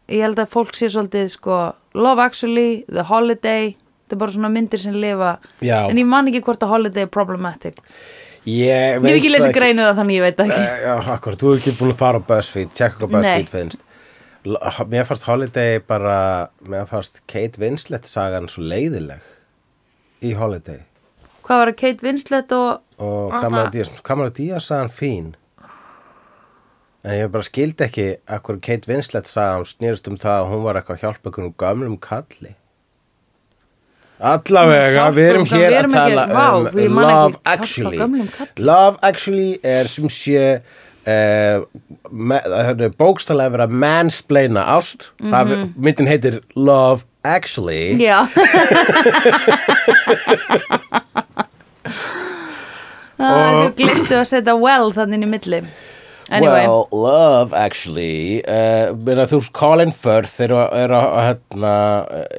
S1: ég held að fólk sé svolítið sko Love Actually, The Holiday, þetta er bara svona myndir sem lifa
S2: Já.
S1: En ég man ekki hvort að Holiday er problematic
S2: ég,
S1: Ég hef ekki
S2: það
S1: lesið greinu það þannig ég veit það ekki
S2: Eh, Já, akkurat, þú hefur ekki búin að fara á BuzzFeed, tjekka hvað
S1: Nei.
S2: BuzzFeed finnst. L- Mér fannst Holiday bara, mér fannst Kate Winslet sagan svo leiðileg í Holiday.
S1: Hvað var að Kate Winslet og,
S2: Og
S1: Aha.
S2: Kamala Díaz, Kamala Díaz sagan fín. En ég bara skildi ekki að hverju Kate Winslet sagan snýrist um það að hún var eitthvað að hjálpa einhverjum gamlum kalli. Allavega,
S1: Hjálpa
S2: við erum
S1: einhverjum-
S2: hér
S1: við
S2: að
S1: erum ekki-
S2: tala
S1: vá,
S2: um
S1: ég man ekki
S2: Love
S1: hjálpa
S2: Actually.
S1: gömlum kalli.
S2: Love Actually er sem sé uh, bókstælega verið að mansplaina ást mm
S1: Mhm.
S2: myndin heitir Love Actually
S1: Já Ah, Þú glimtu að setja well þannig í milli Anyway,
S2: Well, Love Actually uh, meina, þú veist Colin Firth er, að- er, að- hérna,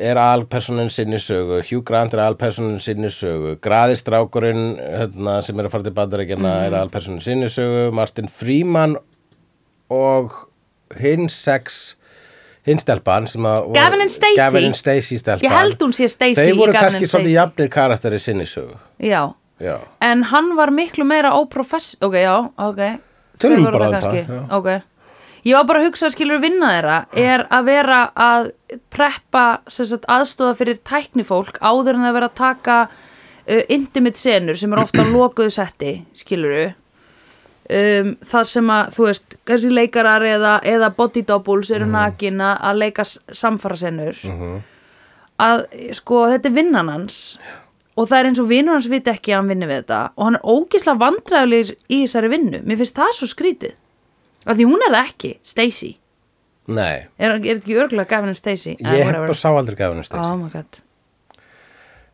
S2: er alpersonin sinni sögu Hugh Grant er alpersonin sinni sögu Graðistrákurinn hérna, sem er að fara til bandarækjana
S1: Mhm.
S2: er alpersonin sinni sögu Martin Freeman og hinn sex hinn stelpan sem að voru-
S1: Gavin and Stacey.
S2: Gavin and Stacey stelpan
S1: ég held hún sé Stacey
S2: Þeir
S1: í
S2: voru
S1: Gavin
S2: kannski
S1: and
S2: svolítið
S1: Stacey
S2: jafnir karakter í sinni sögu
S1: Já,
S2: Já
S1: En hann var miklu meira óprofess... Ok, já, ok.
S2: Tölum
S1: Þau voru
S2: bara um
S1: það
S2: það,
S1: kannski.
S2: já.
S1: Ok. Ég var bara að hugsa að skilur vinna þeirra er að vera að preppa sem sagt, aðstóða fyrir tæknifólk áður en það vera að taka uh, intimate senur sem er ofta lokuðu setti, skilur um, þar sem að, þú veist, kannski leikarar eða, eða body doubles
S2: Mhm.
S1: eru nakin að- að leika samfarasenur að sko þetta er vinnan hans og það er eins og vinnur hans viti ekki að hann vinni við þetta og hann er ógislega vandræðulegur í þessari vinnu mér finnst það svo skrítið af því hún er það ekki, Stacey
S2: Nei
S1: er, er þetta ekki örgulega gafin en Stacey Eh,
S2: Ég hef
S1: whatever.
S2: bara sá aldrei Gavin and Stacey
S1: oh my god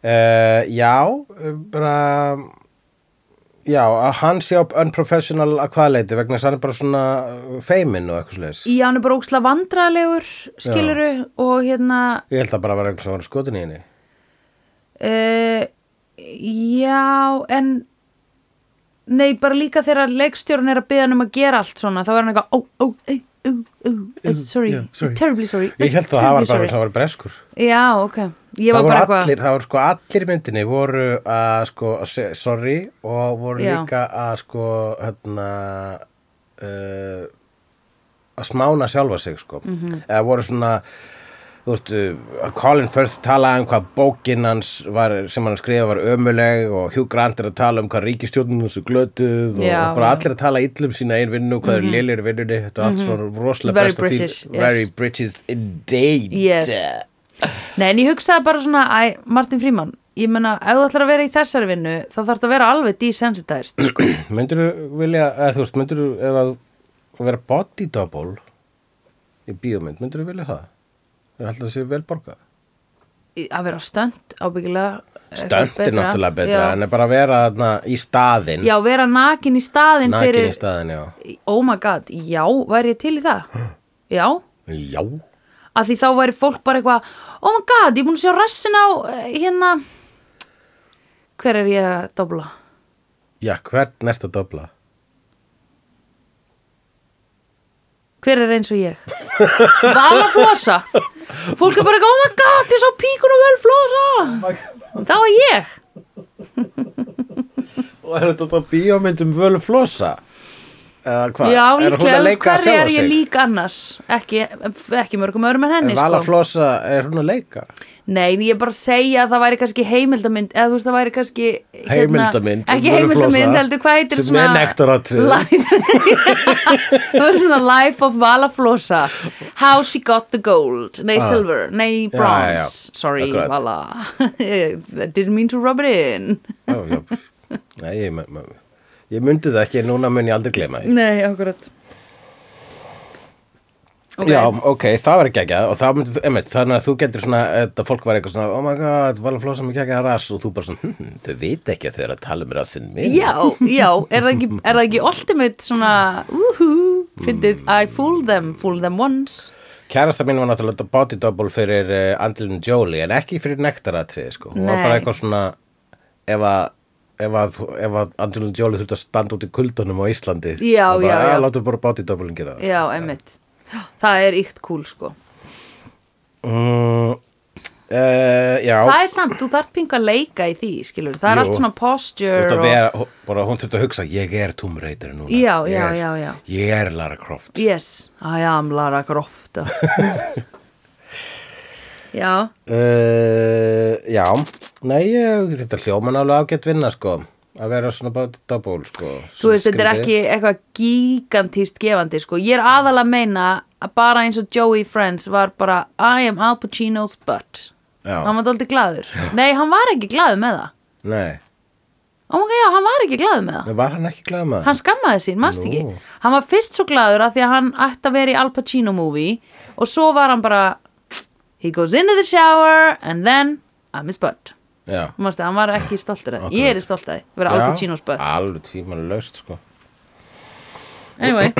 S2: Uh, já, uh, bara já, að hann sé á unprofessional að hvaða leiti vegna þess að hann er bara svona uh, feiminn og eitthvað slags.
S1: já, hann er bara ógislega vandræðulegur skiluru og hérna
S2: Ég held að bara var einhvers að var skotin í henni.
S1: Uh, já, en Nei, bara líka þegar leikstjórun er að byggja hann um að gera allt svona þá er hann eitthvað, "Oh, eh, ó, ó, ó, ó, ó, sorry,
S2: já, sorry.
S1: terribly oh, eh, sorry
S2: Ég held að það
S1: terribly
S2: var bara
S1: sorry.
S2: eins og hann var breskur.
S1: Já, ok, ég var
S2: það
S1: bara
S2: voru
S1: eitthvað
S2: allir, það voru sko allir í myndinni voru að sko að se- sorry og voru
S1: Já.
S2: líka að sko hérna uh, að smána sjálfa sig sko
S1: Mhm.
S2: eða voru svona þú veist, uh, Colin Firth talaði um hvað bókin hans var, sem hann skrifa var ömuleg og Hugh Grant er að tala um hvað ríkistjórnum þessu glötuð og
S1: Já,
S2: bara
S1: já. Mhm.
S2: allir að tala illum sína einn vinnu, hvað mm -hmm. er lélir vinnunni þetta er allt svona rosalega
S1: Very
S2: best að því-
S1: British, yes.
S2: very British indeed
S1: Yes. Nei, en ég hugsaði bara svona, æ, Martin Fríman, ég meina, ef þú ætlar að vera í þessari vinnu, þá þarf það að vera alveg desensitized, sko.
S2: Myndur þú vilja, eða þú veist, myndur þú ef að vera body double í bíómynd, myndur þú vilja það? Það er alltaf að sé vel borga.
S1: Í- Að vera stönd, ábyggilega. eitthvað
S2: Stönd er
S1: betra.
S2: náttúrulega betra,
S1: Já.
S2: en er bara að vera þarna í staðinn,
S1: Já, vera nakin í staðin
S2: nakin
S1: fyrir,
S2: í staðinn, já.
S1: oh my god, já, væri ég til í það? Já,
S2: Já,
S1: að því þá væri fólk bara eitthvað, oh my god, ég er búin að sjá rassin á, eh, hérna, hver er ég að dobla?
S2: já, hvern ertu að dobla?
S1: Hver er eins og ég? Vala flosa Fólk er bara ekki, oh my god, ég sá píkunum vel flosa Það var ég
S2: Og er þetta bara bíómynd um völu flosa? Eða hvað?
S1: Já,
S2: Er hún að
S1: líklega,
S2: leika
S1: hverri
S2: sjálfa
S1: er ég
S2: sig?
S1: lík annars Ekki, ekki mörgum öðrum en henni
S2: En Vala
S1: sko.
S2: flosa, er hún að leika?
S1: Nei, en ég er bara að segja að það væri kannski heimildamind Eða þú veist, það væri kannski hérna,
S2: Heimildamynd um
S1: Ekki
S2: Völu
S1: heimildamind,
S2: Flosa,
S1: heldur, hvað heitir
S2: sem er nektaratriði.
S1: Life Það var svona Life of Vala flosa How she got the gold Nei,
S2: Ah.
S1: silver, nei,
S2: já,
S1: bronze
S2: já.
S1: Sorry,
S2: Akkurat.
S1: Vala I didn't mean to rub it in
S2: Já, já. Nei, ég, ma- ma- ég myndi það ekki, en núna mun ég aldrei glema því.
S1: Nei, akkurat okay.
S2: Já, ok, það var ekki ekki og það myndi, einmitt, þannig að þú getur svona þetta fólk var eitthvað svona, oh my god, vala flósa mig ekki að rass og þú bara svona, hm, þau veit ekki að þau eru að tala um rassinn minn
S1: já, já, er það ekki, er það ekki ultimate svona, úhú, fyndið
S2: Mm.
S1: I fool them, fool them once
S2: Kærasta mín var náttúrulega body double fyrir uh, Angelina Jolie, en ekki fyrir nektaratriði, sko, hún var
S1: Nei.
S2: bara eitthvað svona ef að ef að, ef að Angelina Jolie þurfti að standa út í kuldunum á Íslandi,
S1: Já,
S2: og bara,
S1: já, já.
S2: "Ah, látum bara body doublein gera það
S1: Já, emmitt, það er ykt cool sko
S2: mm, uh, Já,
S1: Það er samt, þú þarft pingu að leika í því, skilur Það er
S2: Jú.
S1: allt svona
S2: Þú
S1: posture
S2: ert að
S1: og,
S2: vera, hú- bara hún þurfti að hugsa ég er Tomb Raider núna
S1: Já,
S2: Ég
S1: já,
S2: er-
S1: já, já.
S2: Ég er Lara Croft
S1: Yes, I am Lara Croft Já,
S2: uh, Já, nei ég, þetta hljóma nálega ágætt vinna sko að vera svona bara double sko
S1: Þú veist, þetta er ekki eitthvað gigantíst gefandi, sko. Ég er aðalega að meina að bara eins og Joey Friends var bara I am Al Pacino's butt. Hann
S2: Já,
S1: var dálítið glaður. Nei, hann var ekki glaður með það.
S2: nei,
S1: Ómega, já, hann var ekki glaður með það.
S2: Nei, var hann ekki glæð maður?
S1: Hann skammaði sín, mannst ekki.
S2: Nú.
S1: Hann var fyrst svo glaður að því að hann ætti að vera í Al Pacino movie og svo var hann bara He goes into the shower and then I'm his butt.
S2: Já,
S1: Manstu, hann var ekki stoltur að það.
S2: Akkurat.
S1: Ég er stolt að það. Vera Al
S2: Já, Ah.
S1: Pacino's butt.
S2: Alveg tímanlega laust sko
S1: Anyway.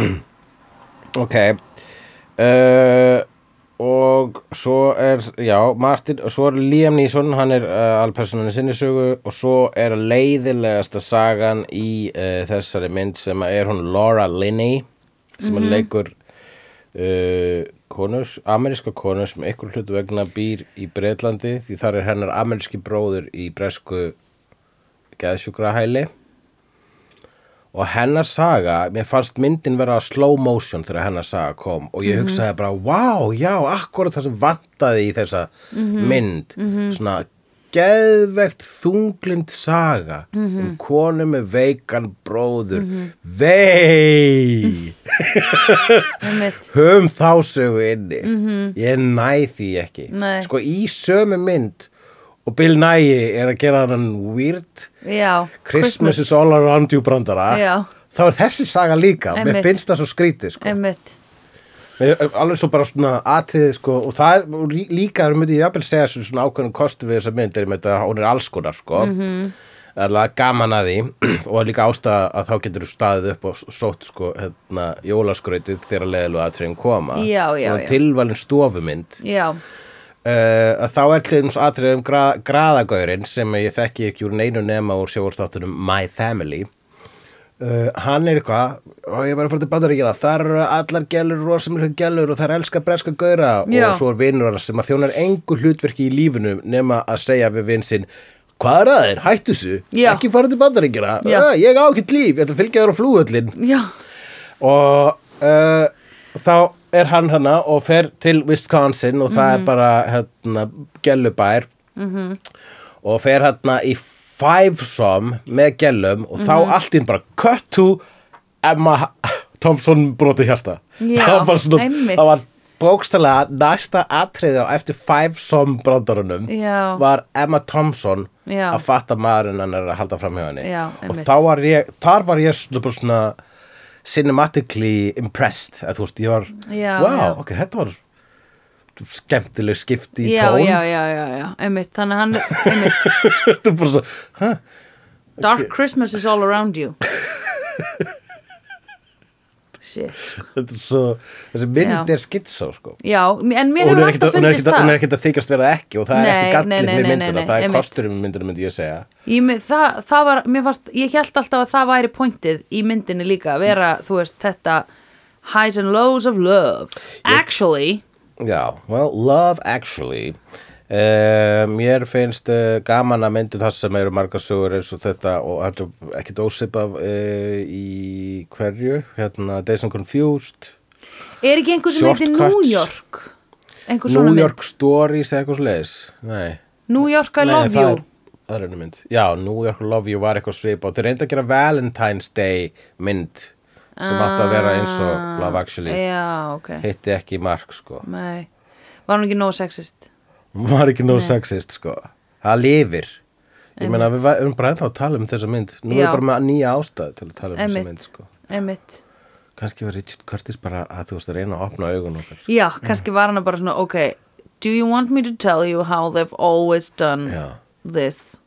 S2: Ok uh, Og svo er, já, Martin og svo er Liam Neeson, hann er uh, alpersonunni sinni sögu og svo er leiðilegasta sagan í uh, þessari mynd sem að er hún Laura Linney sem mm leikur uh, konus, ameríska konu sem ykkur hlutu vegna býr í Breitlandi því þar er hennar ameríski bróður í bresku geðsjúkrahæli og hennar saga, mér fannst myndin vera slow motion þegar hennar saga kom og ég hugsaði bara, wow, já, akkurat það sem vantaði í þessa mynd svona geðvegt þunglind saga um konu með veikan bróður vei
S1: einmitt.
S2: höfum þá sögu inni ég næ því ekki
S1: Nei.
S2: sko í sömu mynd og Bill Nye er að gera hann weird
S1: Já.
S2: Christmas is all around you brandara
S1: Já.
S2: þá er þessi saga líka,
S1: Einmitt.
S2: mér finnst það svo skrítið sko.
S1: Einmitt.
S2: Mér- alveg svo bara svona atriði sko, og það er og lí- líka, þú myndi ég jafnvel segja sem svona ákveðnum kostu við þessa mynd er með þetta, hún er alls konar sko
S1: Mhm.
S2: -hmm. alveg gaman að því og líka ástæða að þá getur staðið upp og s- sótt sko, hérna, jólaskrautið þegar leðilega atriðin koma
S1: Já, já,
S2: og
S1: já.
S2: tilvalin stofumynd
S1: Já.
S2: uh, að þá er til þess atriðum gra graðagaurinn sem ég þekki ekki úr neinu nema úr sjóðstáttunum My Family Uh, hann er eitthvað og ég er bara að fara til bandaríkina þar eru allar gælur, rosamlega gælur og þær elska breska gauðra
S1: Já.
S2: og svo er vinur hann sem að þjónar engu hlutverki í lífinu nema að segja við vinn sinn hvað er að þér, hættu þessu,
S1: Já.
S2: ekki fara til bandaríkina
S1: Já.
S2: uh, ég á ekkert líf, ég ætla að fylgja þér á flúvöllin
S1: já,
S2: og uh, þá er hann hana og fer til Wisconsin og
S1: Mhm.
S2: það er bara hérna, gælubær og fer hérna í fivesome með gellum og þá
S1: Mhm.
S2: allt inn bara cut to Emma Thompson broti hjarta
S1: Já,
S2: það var, svona,
S1: einmitt.
S2: það var bókstælega næsta atriði á eftir fivesome brandarunum
S1: Já.
S2: var Emma Thompson
S1: Já.
S2: að fatta maðurinn hann er að halda fram hjá henni
S1: Já,
S2: og
S1: einmitt.
S2: þá var ég, þar var ég svona, bara svona cinematically impressed að þú veist, ég var
S1: Já,
S2: wow,
S1: já.
S2: ok, þetta var skemmtileg skipti í
S1: já,
S2: tón
S1: já, já, já, já, einmitt, þannig að hann, einmitt,
S2: þetta er bara svona, hæ,
S1: Dark Christmas is all around you. Shit.
S2: þetta er svo þessi mynd
S1: Já.
S2: er skitsá sko
S1: Já, en mér
S2: og hún
S1: hefur
S2: er ekkit
S1: alltaf
S2: að- hún er
S1: fundist
S2: ekkit að- hún er
S1: það.
S2: ekkit að þykast verða ekki og það er
S1: Nei,
S2: ekki
S1: nei,
S2: gallin
S1: nei,
S2: með
S1: nei,
S2: myndina
S1: nei,
S2: það er
S1: einmitt.
S2: kosturinn með myndina myndi ég segja
S1: Ég, me- það, það var, mér fannst, ég held alltaf að það væri pointið í myndinni líka að vera, þú veist, þetta highs and lows of love. Actually,
S2: Já, well, Love Actually Uh, mér finnst uh, gaman að myndu það sem eru margar sögur eins og þetta og þetta er ekkit ósipað uh, í hverju hérna Days and Confused
S1: er ekki einhver sem heitir New
S2: Shortcuts.
S1: York? Einhver svona
S2: New
S1: mynd?
S2: York Stories eða eitthvað svoleiðis Nei,
S1: New York I
S2: Nei
S1: love
S2: það,
S1: you.
S2: er, það er einu mynd Já, New York I Love You var eitthvað svipa og þeir reyndu að gera Valentine's Day mynd sem átti að vera eins
S1: Ah,
S2: og Love
S1: eh.
S2: Actually
S1: Já, ok.
S2: hitti ekki mark sko
S1: Nei, var hún ekki nóg sexist?
S2: Hún var ekki nóg sexist sko það lifir ég meina við erum bara ennþá að tala um þessa mynd nú
S1: Já.
S2: erum við bara með nýja ástæðu til að tala um
S1: Einmitt.
S2: þessa mynd sko
S1: Einmitt.
S2: kannski var Richard Curtis bara að þú veist að reyna að opna augun okkar
S1: Já, kannski var hann bara svona, ok, do you want me to tell you how they've always done
S2: Já.
S1: this?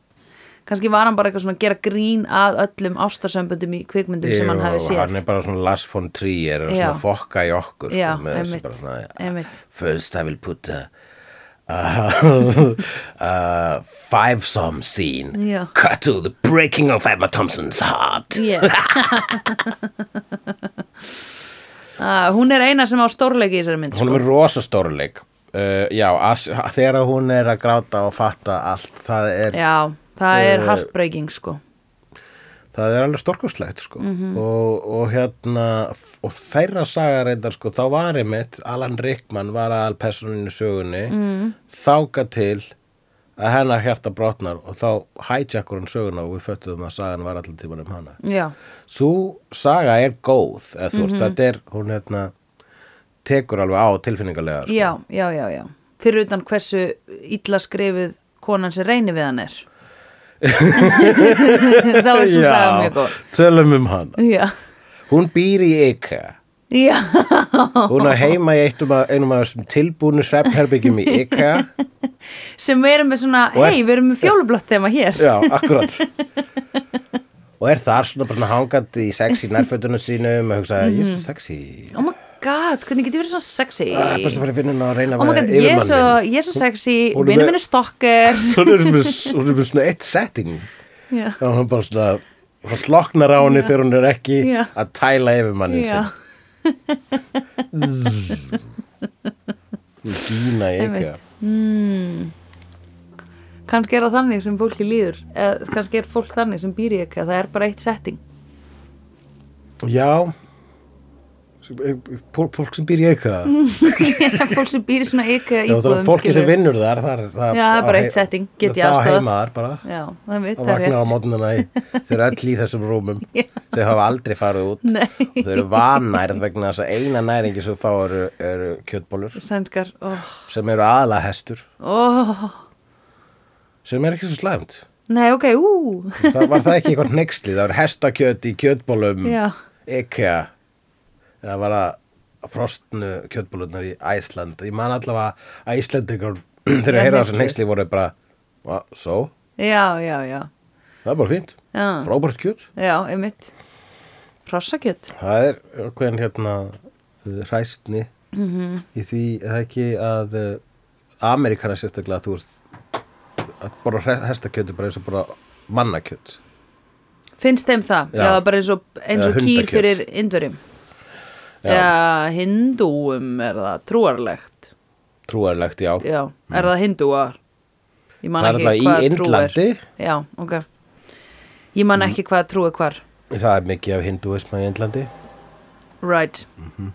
S1: Kannski var hann bara eitthvað svona að gera grín að öllum ástarsömbundum í kvikmyndum sem hann hafi séð.
S2: hann er bara svona Lars von Trier og
S1: Já.
S2: svona fokka í okkur
S1: Já,
S2: sko, með þessu
S1: einmitt,
S2: bara svona
S1: einmitt.
S2: first I will put a uh, uh, five some scene
S1: Já.
S2: cut to the breaking of Emma Thompson's heart
S1: Yes. uh, hún er eina sem á stórleiki í þessari mynd. sko.
S2: hún er með rosa stórleik uh, já, as, þegar hún er að gráta og fatta allt það er,
S1: Já, það er
S2: Eh,
S1: heartbreaking sko.
S2: það er alveg stórkustlegt sko.
S1: Mhm.
S2: og, og hérna og þeirra saga reyndar sko, þá var einmitt, Alan Rickman var aðal personinu sögunni mm. þáka til að hennar hjarta brotnar og þá hijackur hann söguna og við föttuðum að sagan var allan tíman um hana
S1: Já,
S2: Sú saga er góð eða, þú
S1: Mhm.
S2: veist, þetta er, hún hérna tekur alveg á tilfinningarlega sko.
S1: já, já, já, já. Fyrir utan hversu illa skrifuð konan sem reynir við hann er. það var svo sagði mjög góð.
S2: tölum um hana
S1: Já,
S2: Hún býr í IKEA
S1: já, Oh.
S2: Hún er heima í eittum að, einum af þessum tilbúnu svefnherbyggjum í IKEA
S1: sem við erum með svona,
S2: Og er-
S1: hei, við erum með fjólublott þema hér.
S2: Já, akkurat Og er þar svona bara svona hangandi í sexy nærfötunum sínum og hugsa,
S1: Mhm.
S2: ég er svo sexy Ah,
S1: Oh my god, hvernig getur verið svona sexy?
S2: Það er best að fara í vinnuna og reyna
S1: Oh my god, ég er svo, ég er svo sexy,
S2: Hún er
S1: vinnum
S2: með-
S1: minn er stokker.
S2: Hún er með hún er með svona eitt setting
S1: Já,
S2: og hún bara svona hún sloknar á henni þegar hún er ekki
S1: Já.
S2: að tæla yfir mannin
S1: já,
S2: sinn Hún dýna í IKEA
S1: einmitt. Mm. Kannski er það þannig sem fólki líður, eða kannski er fólk þannig sem býr í ekki, það er bara eitt setting.
S2: Já Fólk fólk sem býr í IKEA
S1: fólk sem býr í svona ykka
S2: Já, það er
S1: Mhm. íbúðum
S2: fólki sem
S1: skilurðu.
S2: vinnur þar, þar, þar
S1: Já, það er bara
S2: á
S1: eitt
S2: hei-
S1: setting, get ég
S2: Það á
S1: aðstoðað.
S2: heimaðar bara
S1: Já, það er mitt,
S2: og
S1: það er
S2: vaknar á
S1: rétt
S2: mótnuna í þau eru öll í þessum rúmum þau hafa aldrei farið út
S1: Nei.
S2: og þau eru vanærð vegna þess að eina næringi sem þau fá eru, eru kjötbólur
S1: Sænskar, óh,
S2: sem eru aðalega hestur
S1: óh
S2: sem er ekki svo slæmt
S1: Nei, ok, ú
S2: það var það ekki eitthvað nexli það var hestakjöt í kjötbólum
S1: Já,
S2: IKEA það var að frostnu kjötbólunar í Æsland ég man allavega að Æslandingar þegar
S1: Já,
S2: að heyra þessu
S1: hneyksluð.
S2: nexli voru bara "Ah, so,
S1: já, já, já
S2: það er bara fínt
S1: Já,
S2: frábært kjöt
S1: já einmitt Hrossakjöt
S2: það er hvernig hérna uh, hræstni
S1: Mhm.
S2: í því er það ekki að uh, Amerikana sérstaklega þú veist að bara hestakjötu bara eins og bara mannakjöt
S1: finnst þeim
S2: Já.
S1: það, já, það er bara eins og, eins
S2: Eða
S1: og kýr
S2: hundakjöt.
S1: fyrir indverjum
S2: Já.
S1: eða hindúum er það trúarlegt
S2: trúarlegt, já,
S1: já, er það hindúar ég man
S2: Það er
S1: ekki
S2: alltaf í
S1: hvað trú er
S2: Indlandi. Mm.
S1: já, ok ég man ekki hvað trú er hvar
S2: það er mikið af hindúisma í Indlandi
S1: right,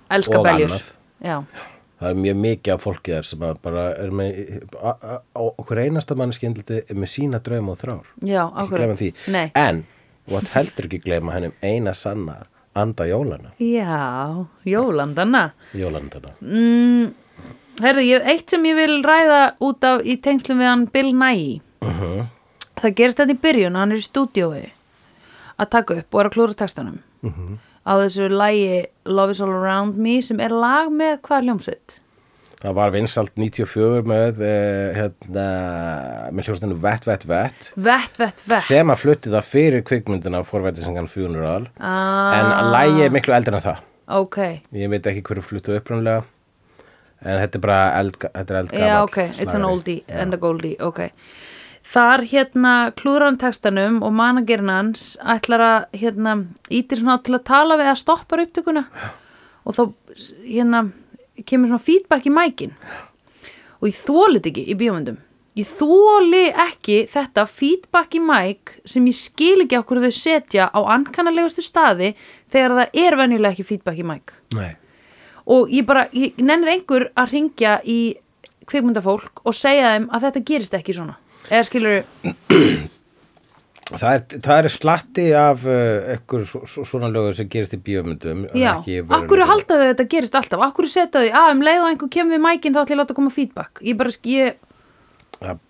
S1: elska
S2: Mhm. Og
S1: beljur
S2: annað.
S1: já,
S2: það er mjög mikið af fólki þar sem að bara er með a- a- a- okkur einasta mannski Indlandi er með sína draum og þrár
S1: já,
S2: ekki
S1: ákveð
S2: gleyma því
S1: Mm, nei,
S2: en, þú átt heldur ekki gleyma hennum eina sanna anda jólana
S1: já, jólandana
S2: jólandana
S1: mm, herðu, ég, eitt sem ég vil ræða út af í tengslum við hann Bill Nye
S2: uh -huh.
S1: það gerist þetta í byrjun hann er í stúdiói að taka upp og er að klúra textanum
S2: Mhm.
S1: á þessu lagi Love is all around me sem er lag með hvað hljómsveit
S2: það var vinsalt 94 með uh, hérna, með hljóstinu Vett, Vett, Vett
S1: Vett, vett, vett
S2: sem að flutti það fyrir kvikmyndina forvætisengan 400
S1: ah,
S2: en að lægi er miklu eldur en það
S1: ok,
S2: ég veit ekki hverju fluttu upprunlega en þetta er bara eld, þetta er eldgamall
S1: já ok, it's an
S2: slagari.
S1: oldie and a goldie, ok þar hérna klúra hann textanum og managerinn hans ætlar að hérna ítir svona á til að tala við að stoppa upptökuna og þá hérna kemur svona feedback í mækin og ég þólit ekki í bíómyndum ég þóli ekki þetta feedback í mæk sem ég skil ekki okkur þau setja á ankannalegustu staði þegar það er venjulega ekki feedback í mæk
S2: Nei.
S1: og ég bara, ég nennir einhver að ringja í kvikmyndafólk og segja þeim að þetta gerist ekki svona eða skilur,
S2: Það er, það er slatti af uh, ekkur svona lögur sem gerist í bíómyndum en
S1: já,
S2: ekki í veruleikanum.
S1: akkur halda þau að þetta gerist alltaf, akkur setja þau að um leið og einhver kemur við mækinn þá ætla ég að láta koma feedback ég bara, sk- ég,
S2: að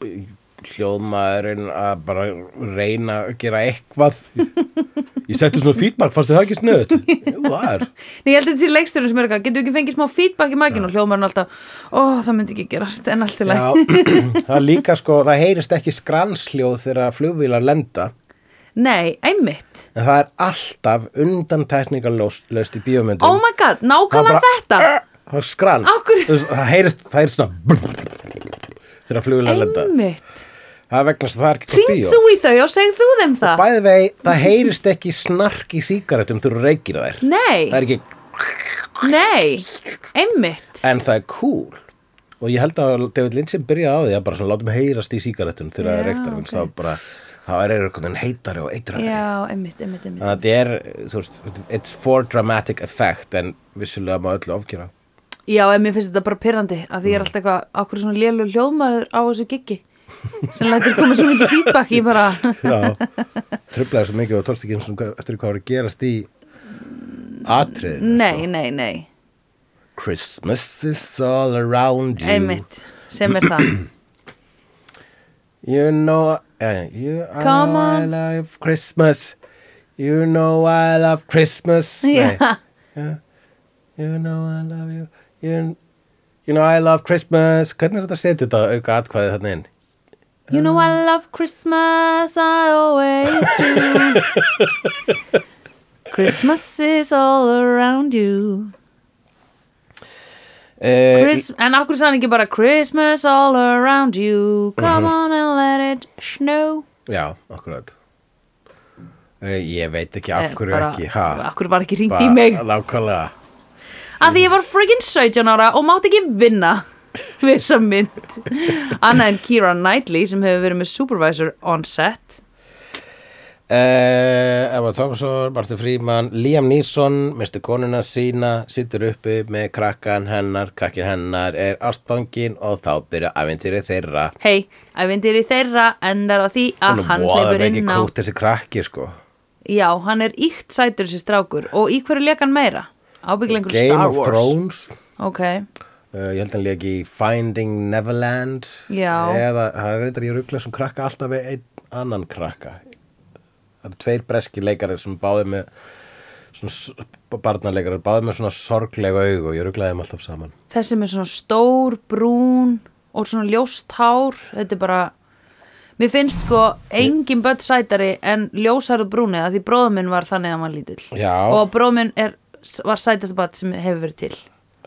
S2: hljóðmaðurinn að bara reyna að gera eitthvað ég setti svona feedback, fannst þið það ekki snöðt? Jú, það er
S1: Nei, ég held að þetta sé leiksturinn sem er eitthvað, getur ekki fengið smá feedback í mækinn og hljómarinn alltaf, ó, það myndi ekki gerast, en allt í lagi.
S2: Já, það er líka sko, það heyrist ekki skranshljóð þegar flugvílar lenda
S1: Nei, einmitt.
S2: en það er alltaf undan teknikalöst í bíómyndum
S1: Oh my god, nákvæmlega
S2: Það bara- eh,
S1: þetta.
S2: það er skrans
S1: Á hverju-
S2: Þú veist, það heyrist, það heyrist svona þegar flugvílar lenda
S1: Einmitt.
S2: það er vegna sem það er ekki gott
S1: Hringd þú í þau og segð þú þeim það?
S2: Bæði vei, það heyrist ekki snark í sígarettum þú reykir þær. Það
S1: Nei,
S2: er ekki,
S1: nei, einmitt.
S2: en það er cool. Og ég held að David Lindsay byrjaði á því að bara svona látum heyrast í sígarettum þegar það
S1: Já,
S2: er reyktar. Okay.
S1: ok.
S2: Það bara, það er einhvern veginn heitari og eitrari.
S1: Já, einmitt, einmitt, einmitt.
S2: Þannig að þetta er, þú veist, it's for dramatic effect en vissulega má öllu ofgjöra.
S1: Já, en mér finnst þetta bara pyrrandi að
S2: Mm.
S1: því ég er alltaf eitthvað, okkur svona lélu hljóðmaður á þessu giggi sem lætur koma svo mikið feedback í bara
S2: Já, trublaði svo mikið og tólst ekki eins og eftir hvað var að gerast í atriðinu.
S1: Nei, nei, nei,
S2: Christmas is all around you.
S1: einmitt sem er það
S2: You know, uh, you
S1: Come
S2: know
S1: on.
S2: I love Christmas. You know I love Christmas.
S1: Já,
S2: Nei, You know I love you. You, you know I love Christmas. Hvernig er þetta að setja þetta auka atkvæðið þarna inn?
S1: You know I love Christmas, I always do Christmas is all around you
S2: Uh,
S1: Chris, En akkur sann ekki bara Christmas all around you Come
S2: Mhm.
S1: on and let it snow
S2: já, akkurat. Uh, ég veit ekki af
S1: Eh,
S2: hverju
S1: bara-
S2: ekki. Ha,
S1: Af hverju var ekki ringt í mig
S2: Lákvæðlega.
S1: að því ég var friggin 17 ára og mátt ekki vinna við þessa mynd Anna en Keira Knightley sem hefur verið með supervisor on set
S2: Uh, Emma Thompson, Martin Fríman, Liam Neeson, mistur konuna sína, sittur uppi með krakkan hennar, krakkin hennar er ástangin og þá byrja æventýri þeirra.
S1: hei, ævindir í þeirra endar á því að Ah, hann hleypur
S2: ekki
S1: inn á
S2: kútt þessi krakki, sko.
S1: já, hann er íkt sætur þessi strákur og í hverju leik hann meira? ábygglega einhver
S2: Game
S1: Star
S2: of
S1: Wars
S2: Thrones,
S1: ok,
S2: uh, ég held að hann legi í Finding Neverland.
S1: Já.
S2: Eða, það er reyndar ég ruggla sem krakka alltaf við einn annan krakka. Það eru tveir breski leikarir sem báði með, svona s- barnaleikarar, báði með svona sorglega augu og ég rugglaði þeim alltaf saman.
S1: þessi með svona stór, brún og svona ljóst hár þetta er bara mér finnst sko engin börn sætari en ljósarðu brúnið að því bróðum minn var þannig að hann var lítill
S2: Já.
S1: og bróðum minn er, var sætasta bat sem hefur verið til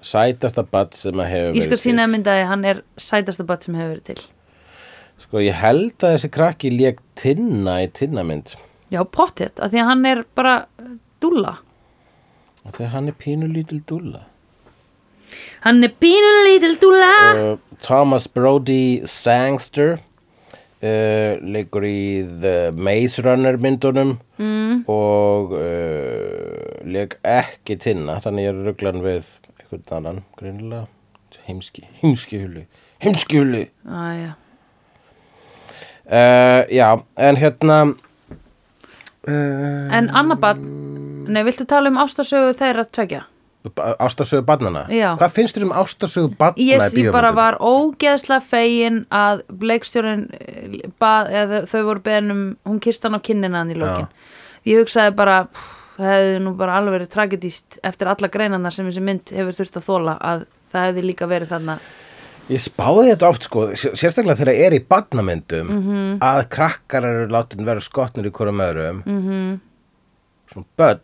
S2: sætasta badd sem að hefur
S1: ég skal
S2: verið
S1: sína að mynda að hann er sætasta bat sem hefur verið til
S2: til. sko ég held að þessi krakki lék tinna í tinnamynd
S1: Já, pottet, af því að hann er bara uh, dúlla
S2: Og þegar hann er pínu lítil dúlla.
S1: Hann er pínu lítil dúlla
S2: Uh, Thomas Brody Sangster uh, leikur í The Maze Runner myndunum mm. og uh, leik ekki tinna þannig ég er rugglan við einhvern annan greinilega heimski, heimski hulu heimski hulu
S1: Æja,
S2: uh, já, en hérna uh,
S1: en annar barn Nei, viltu tala um ástarsögu þeirra tvekja?
S2: ástarsögu barnana
S1: Já.
S2: hvað finnst þér um ástarsögu barnana
S1: Yes,
S2: í
S1: ég bara
S2: bíómyndum?
S1: var ógeðslega fegin að bleikstjórin eh, bað, eða þau voru beðin um hún kist hann á kinnina hann í lokin ég hugsaði bara, pff, það hefði nú bara alveg verið tragedist eftir alla greinarnar sem þessi mynd hefur þurft að þóla að það hefði líka verið þarna
S2: Ég spáði þetta oft sko, sér- sérstaklega þegar það er í barnamyndum
S1: Mhm.
S2: að krakkar eru látin vera skotnir í hverjum öðrum mm -hmm.
S1: Mhm.
S2: svona börn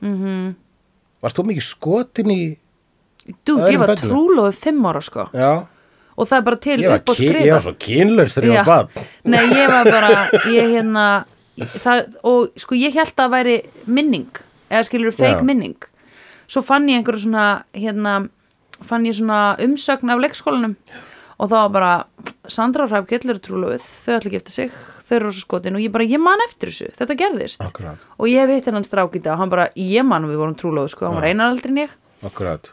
S2: mm -hmm. Varst þú mikið skotin í
S1: Dude,
S2: Öðrum
S1: ég var
S2: börnum?
S1: trúlófið fimm ára sko
S2: Já,
S1: og það er bara til
S2: ég var,
S1: upp á
S2: kyn, ég
S1: skrifa
S2: var svo kynlaus þegar ég var
S1: Já.
S2: barn
S1: Nei, ég var bara, ég hérna það, og sko ég held að það væri minning, eða skilur
S2: Já.
S1: fake minning, svo fann ég einhverju svona, hérna fann ég svona umsögn af leikskólanum og það var bara, Sandra og Ræf Kjellur trúluð, þau ætla ekki eftir sig þau eru svo skotin og ég bara, ég man eftir þessu þetta gerðist
S2: Akkurát,
S1: og ég hef hitt hennan strák í dag og hann bara, ég man að við vorum trúluð sko, hann var einar aldrei en ég
S2: akkurát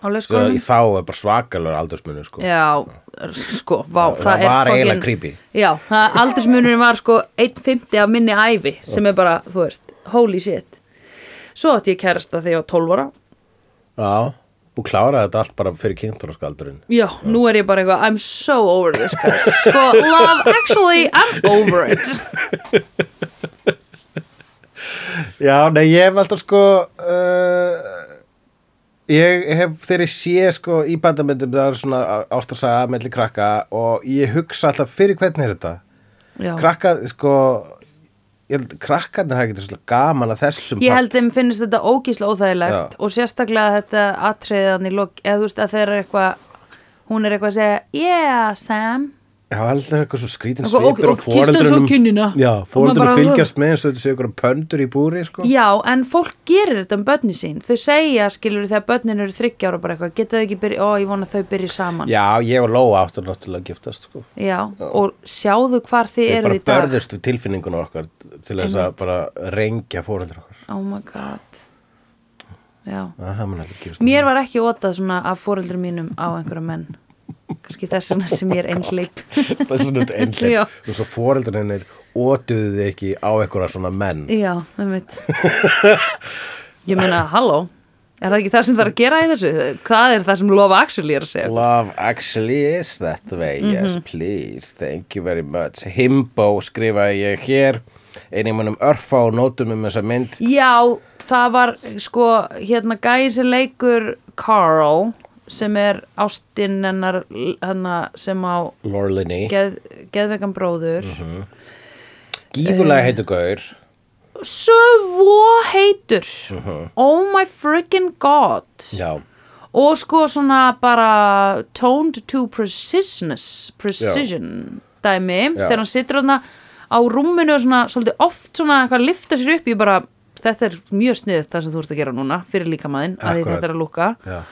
S1: á
S2: Svo
S1: leikskólanum
S2: í þá er bara svakalur aldursmunni sko
S1: Já, sko, vá, það,
S2: það
S1: er
S2: var
S1: fucking-
S2: eiginlega creepy.
S1: Já, það- aldursmunurinn var sko 1.50 af minni ævi sem er bara, þú veist, holy shit Svo átti ég kærasta þegar ég var 12 ára
S2: Já, þú kláraði þetta allt bara fyrir kynntólaskaldurinn
S1: Já, nú er ég bara eitthvað, I'm so over this guys Sko, love, actually, I'm over it
S2: Já, nei, ég hef alltaf sko uh, ég hef þegar ég sé sko í bandamöndum það er svona ástarsaga melli krakka og ég hugsa alltaf fyrir hvernig er þetta
S1: Já.
S2: krakka, sko ég held, krakkarnir hafa ekki svona gaman að þessum
S1: Ég held þeim finnst þetta ógísla óþægilegt
S2: Já.
S1: og sérstaklega þetta atriðan í lok eða þú veist að þeir eru eitthvað hún er eitthvað að segja, yeah, Sam
S2: Já, held það er eitthvað svo skrítin
S1: Og- Sko, og-
S2: svipur
S1: og kysstu hann svo á kinnina.
S2: Já,
S1: Og maður bara-
S2: fóreldunum fylgjast með eins og þetta sé ykkur pöndur í búri, sko
S1: Já, en fólk gerir þetta um börni sín Þau segja, skilur þegar börnin eru þryggja ára bara eitthvað, geta þau ekki byrja, ó, ég vona að þau byrja saman
S2: Já, ég og Lóa áttu náttúrulega að giftast, sko
S1: og sjáðu hvar þið
S2: Við
S1: eru
S2: bara
S1: í dag
S2: börðust við tilfinningunum okkar til þess að bara rengja fóreldra okkar
S1: Oh my god Já
S2: Það hafði hann ekki gerast
S1: Mér var ekki ótað svona af fóreldur mínum á einhverja menn Kannski þess vegna sem
S2: Oh
S1: ég er einhleip
S2: það er svona
S1: Já.
S2: einhleip og svo foreldrinir ótuðu þið ekki á einhverja svona menn
S1: Já, með mitt Ég meina, halló Er það ekki það sem þarf að gera í þessu? Hvað er það sem lofa actually er að segja?
S2: Love actually is that way
S1: Mhm.
S2: yes please, thank you very much Himbo skrifaði ég hér einnig munum örfa og nótum um þessa mynd
S1: Já, það var sko hérna gæði sem leikur Carl sem er ástinn hennar hana, sem á
S2: Lorliney,
S1: geð, geðvegan bróður
S2: Mhm. gífulega
S1: eh,
S2: heitu gaur
S1: svo heitur
S2: Mhm.
S1: oh my freaking god
S2: já,
S1: og sko svona bara toned to precisionness precision dæmi
S2: Já.
S1: þegar hann situr hann á rúminu og svona svolítið oft svona eitthvað lifta sér upp ég bara þetta er mjög sniðið það sem þú ert að gera núna fyrir líkamaðinn að því
S2: Akkurat.
S1: þetta er að lúka
S2: já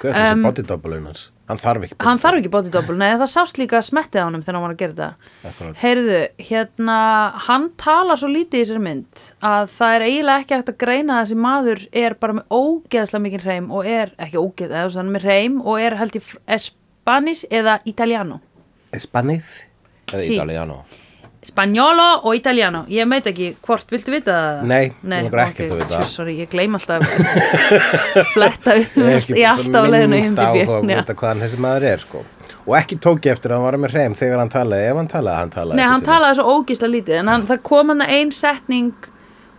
S2: hver er þessi um, bodydobbalun hans? Hann þarf ekki
S1: hann þarf ekki body double, nei það sást líka smettið á honum þegar hann var að gera þetta
S2: Akkúrat.
S1: heyrðu, hérna hann talar svo lítið í þessari mynd að það er eiginlega ekki hægt að greina að þessi maður er bara með ógeðslega mikið hreim og er, ekki ógeðslega, þess að hann er með hreim og er held í Espanis eða Italiano
S2: ekki Spanið? Eða
S1: Sí.
S2: Italiano?
S1: Spanjolo og Italiano, ég meit ekki hvort, viltu vita það?
S2: Nei, mig langar ekkert
S1: ok,
S2: að vita það.
S1: tjú, Sorry, ég gleym alltaf fletta upp
S2: Ég hef
S1: í alltaf
S2: svo
S1: leiðinu
S2: minnst á
S1: IMDb.
S2: að
S1: Já.
S2: vita hvaðan þessi maður er sko. og ekki tók ég eftir að hann var með hreim þegar hann talaði, ef hann talaði, hann talaði
S1: Nei,
S2: ekki
S1: hann
S2: til
S1: talaði svo ógislega lítið en hann, það kom hann að ein setning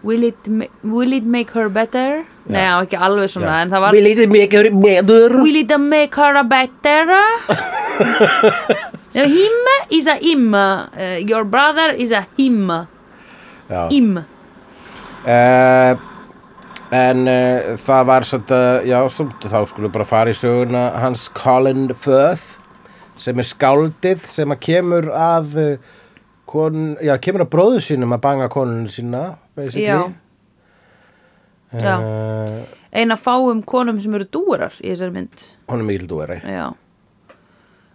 S1: will it, ma- will it make her better? Nei, það var ekki alveg svona en það var
S2: Við lítið mikið meður
S1: Will it make her a better? no, him is a him uh, Your brother is a him
S2: Já,
S1: Him
S2: uh, en uh, það var svolítið, að- já, svolítið þá skulum bara fara í söguna hans Colin Firth sem er skáldið sem að kemur að uh, kon, já, kemur að bróðu sínum að banga konun sína basically.
S1: Já. Já.
S2: Eh,
S1: eina fáum konum sem eru dúrar í þessari mynd
S2: hún er eh. mikil dúari
S1: já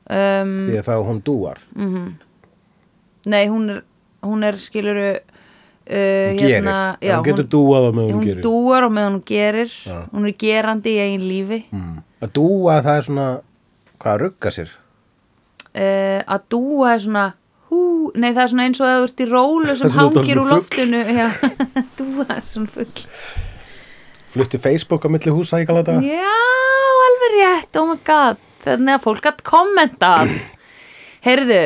S1: um,
S2: því að þá hún dúar
S1: nei hún er, hún er skiluru uh,
S2: hún
S1: hérna,
S2: gerir,
S1: já,
S2: hún getur dúað á meðan hún,
S1: hún
S2: gerir
S1: dúar og meðan hún gerir
S2: Já.
S1: hún er gerandi í eigin lífi
S2: mm. að dúa það er svona hvað að rugga sér
S1: uh, að dúa er svona hú, nei það er svona eins og að þú ert í rólu
S2: Það er
S1: sem
S2: svona
S1: hangir úr
S2: dálítið fugl.
S1: loftinu já, dúa er svona full
S2: flutti Facebook á milli húsa í galata
S1: já, alveg rétt, oh my god þannig að fólk að kommenta heyrðu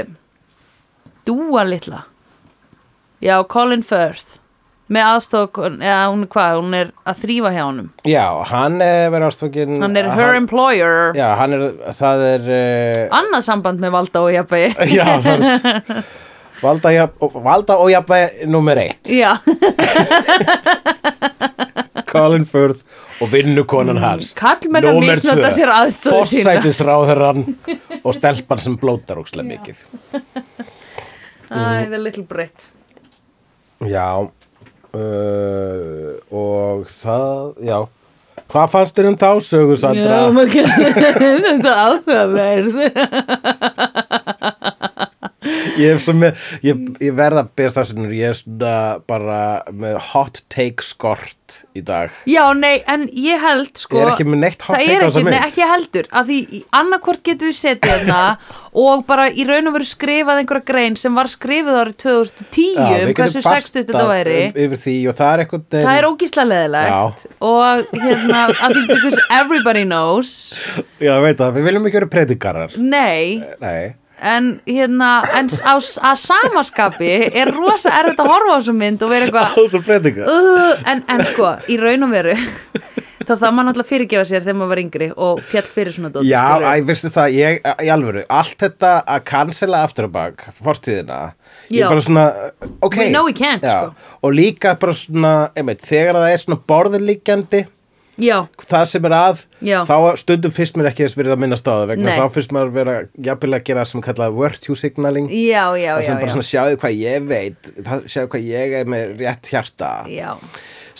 S1: dúa litla já, Colin Firth með aðstók, eða hún er hvað hún er að þrýfa hjá honum
S2: já, hann er verið ástfókin
S1: hann er her employer
S2: já, hann er, það er uh,
S1: annað samband með valda og jafnvegi
S2: já, það er valda, jafn, valda og jafnvæg nummer eitt
S1: já,
S2: Colin Firth og vinnukonan hans
S1: karlmenn að
S2: Númer
S1: Mm. misnota
S2: tvö,
S1: sér aðstöðu sína.
S2: forsætisráðherrann og stelpan sem blótar ókslega mikið
S1: Æ, the little Brit
S2: já uh, og það já, hvað fannst þér um þá sögu Sandra?
S1: Já, maður getur þetta áhugaverð
S2: ég, er svo með, ég, ég verð að byrja stafsunur ég er svona bara með hot take skort í dag
S1: Já, nei, en ég held sko
S2: Ég er ekki með neitt hot
S1: það
S2: take á
S1: er
S2: þessa
S1: ekki, nei,
S2: mynd.
S1: ekki heldur að því annarkvort getur við setið hérna og bara í raun og veru skrifað einhverja grein sem var skrifið árið 2010 um hversu sextist þetta væri
S2: um, yfir því og það er eitthvað
S1: Það er ógísla leðilegt og hérna, að því because everybody knows
S2: já, ég veit það, við viljum ekki vera predikarar
S1: Mm. Nei,
S2: nei
S1: en hérna en á, að samaskapi er rosa erfitt að horfa á þessu mynd og vera eitthvað
S2: þessu predikar
S1: uh, en, en sko, í raun og veru þá það maður náttúrulega fyrirgefa sér þegar maður var yngri og fjall fyrir svona dót
S2: Já,
S1: skilurðu.
S2: æ, veistu það, ég, í alvöru, allt þetta að cancela aftur á bak, fortíðina, ég
S1: Já.
S2: er bara svona, uh, ok.
S1: We know we can't,
S2: Já,
S1: sko.
S2: Og líka bara svona, einmitt, þegar það er svona borðurlíkjandi,
S1: já,
S2: það sem er að,
S1: Já.
S2: þá stundum fyrst mér ekki þess verið að minna staða vegna
S1: Nei.
S2: þá fyrst maður vera jafnvel að gera það sem kallað virtue signaling.
S1: já, já,
S2: Það
S1: já,
S2: sem bara
S1: já.
S2: svona sjáðu hvað ég veit, það- sjáðu hvað ég er með rétt hjarta.
S1: já.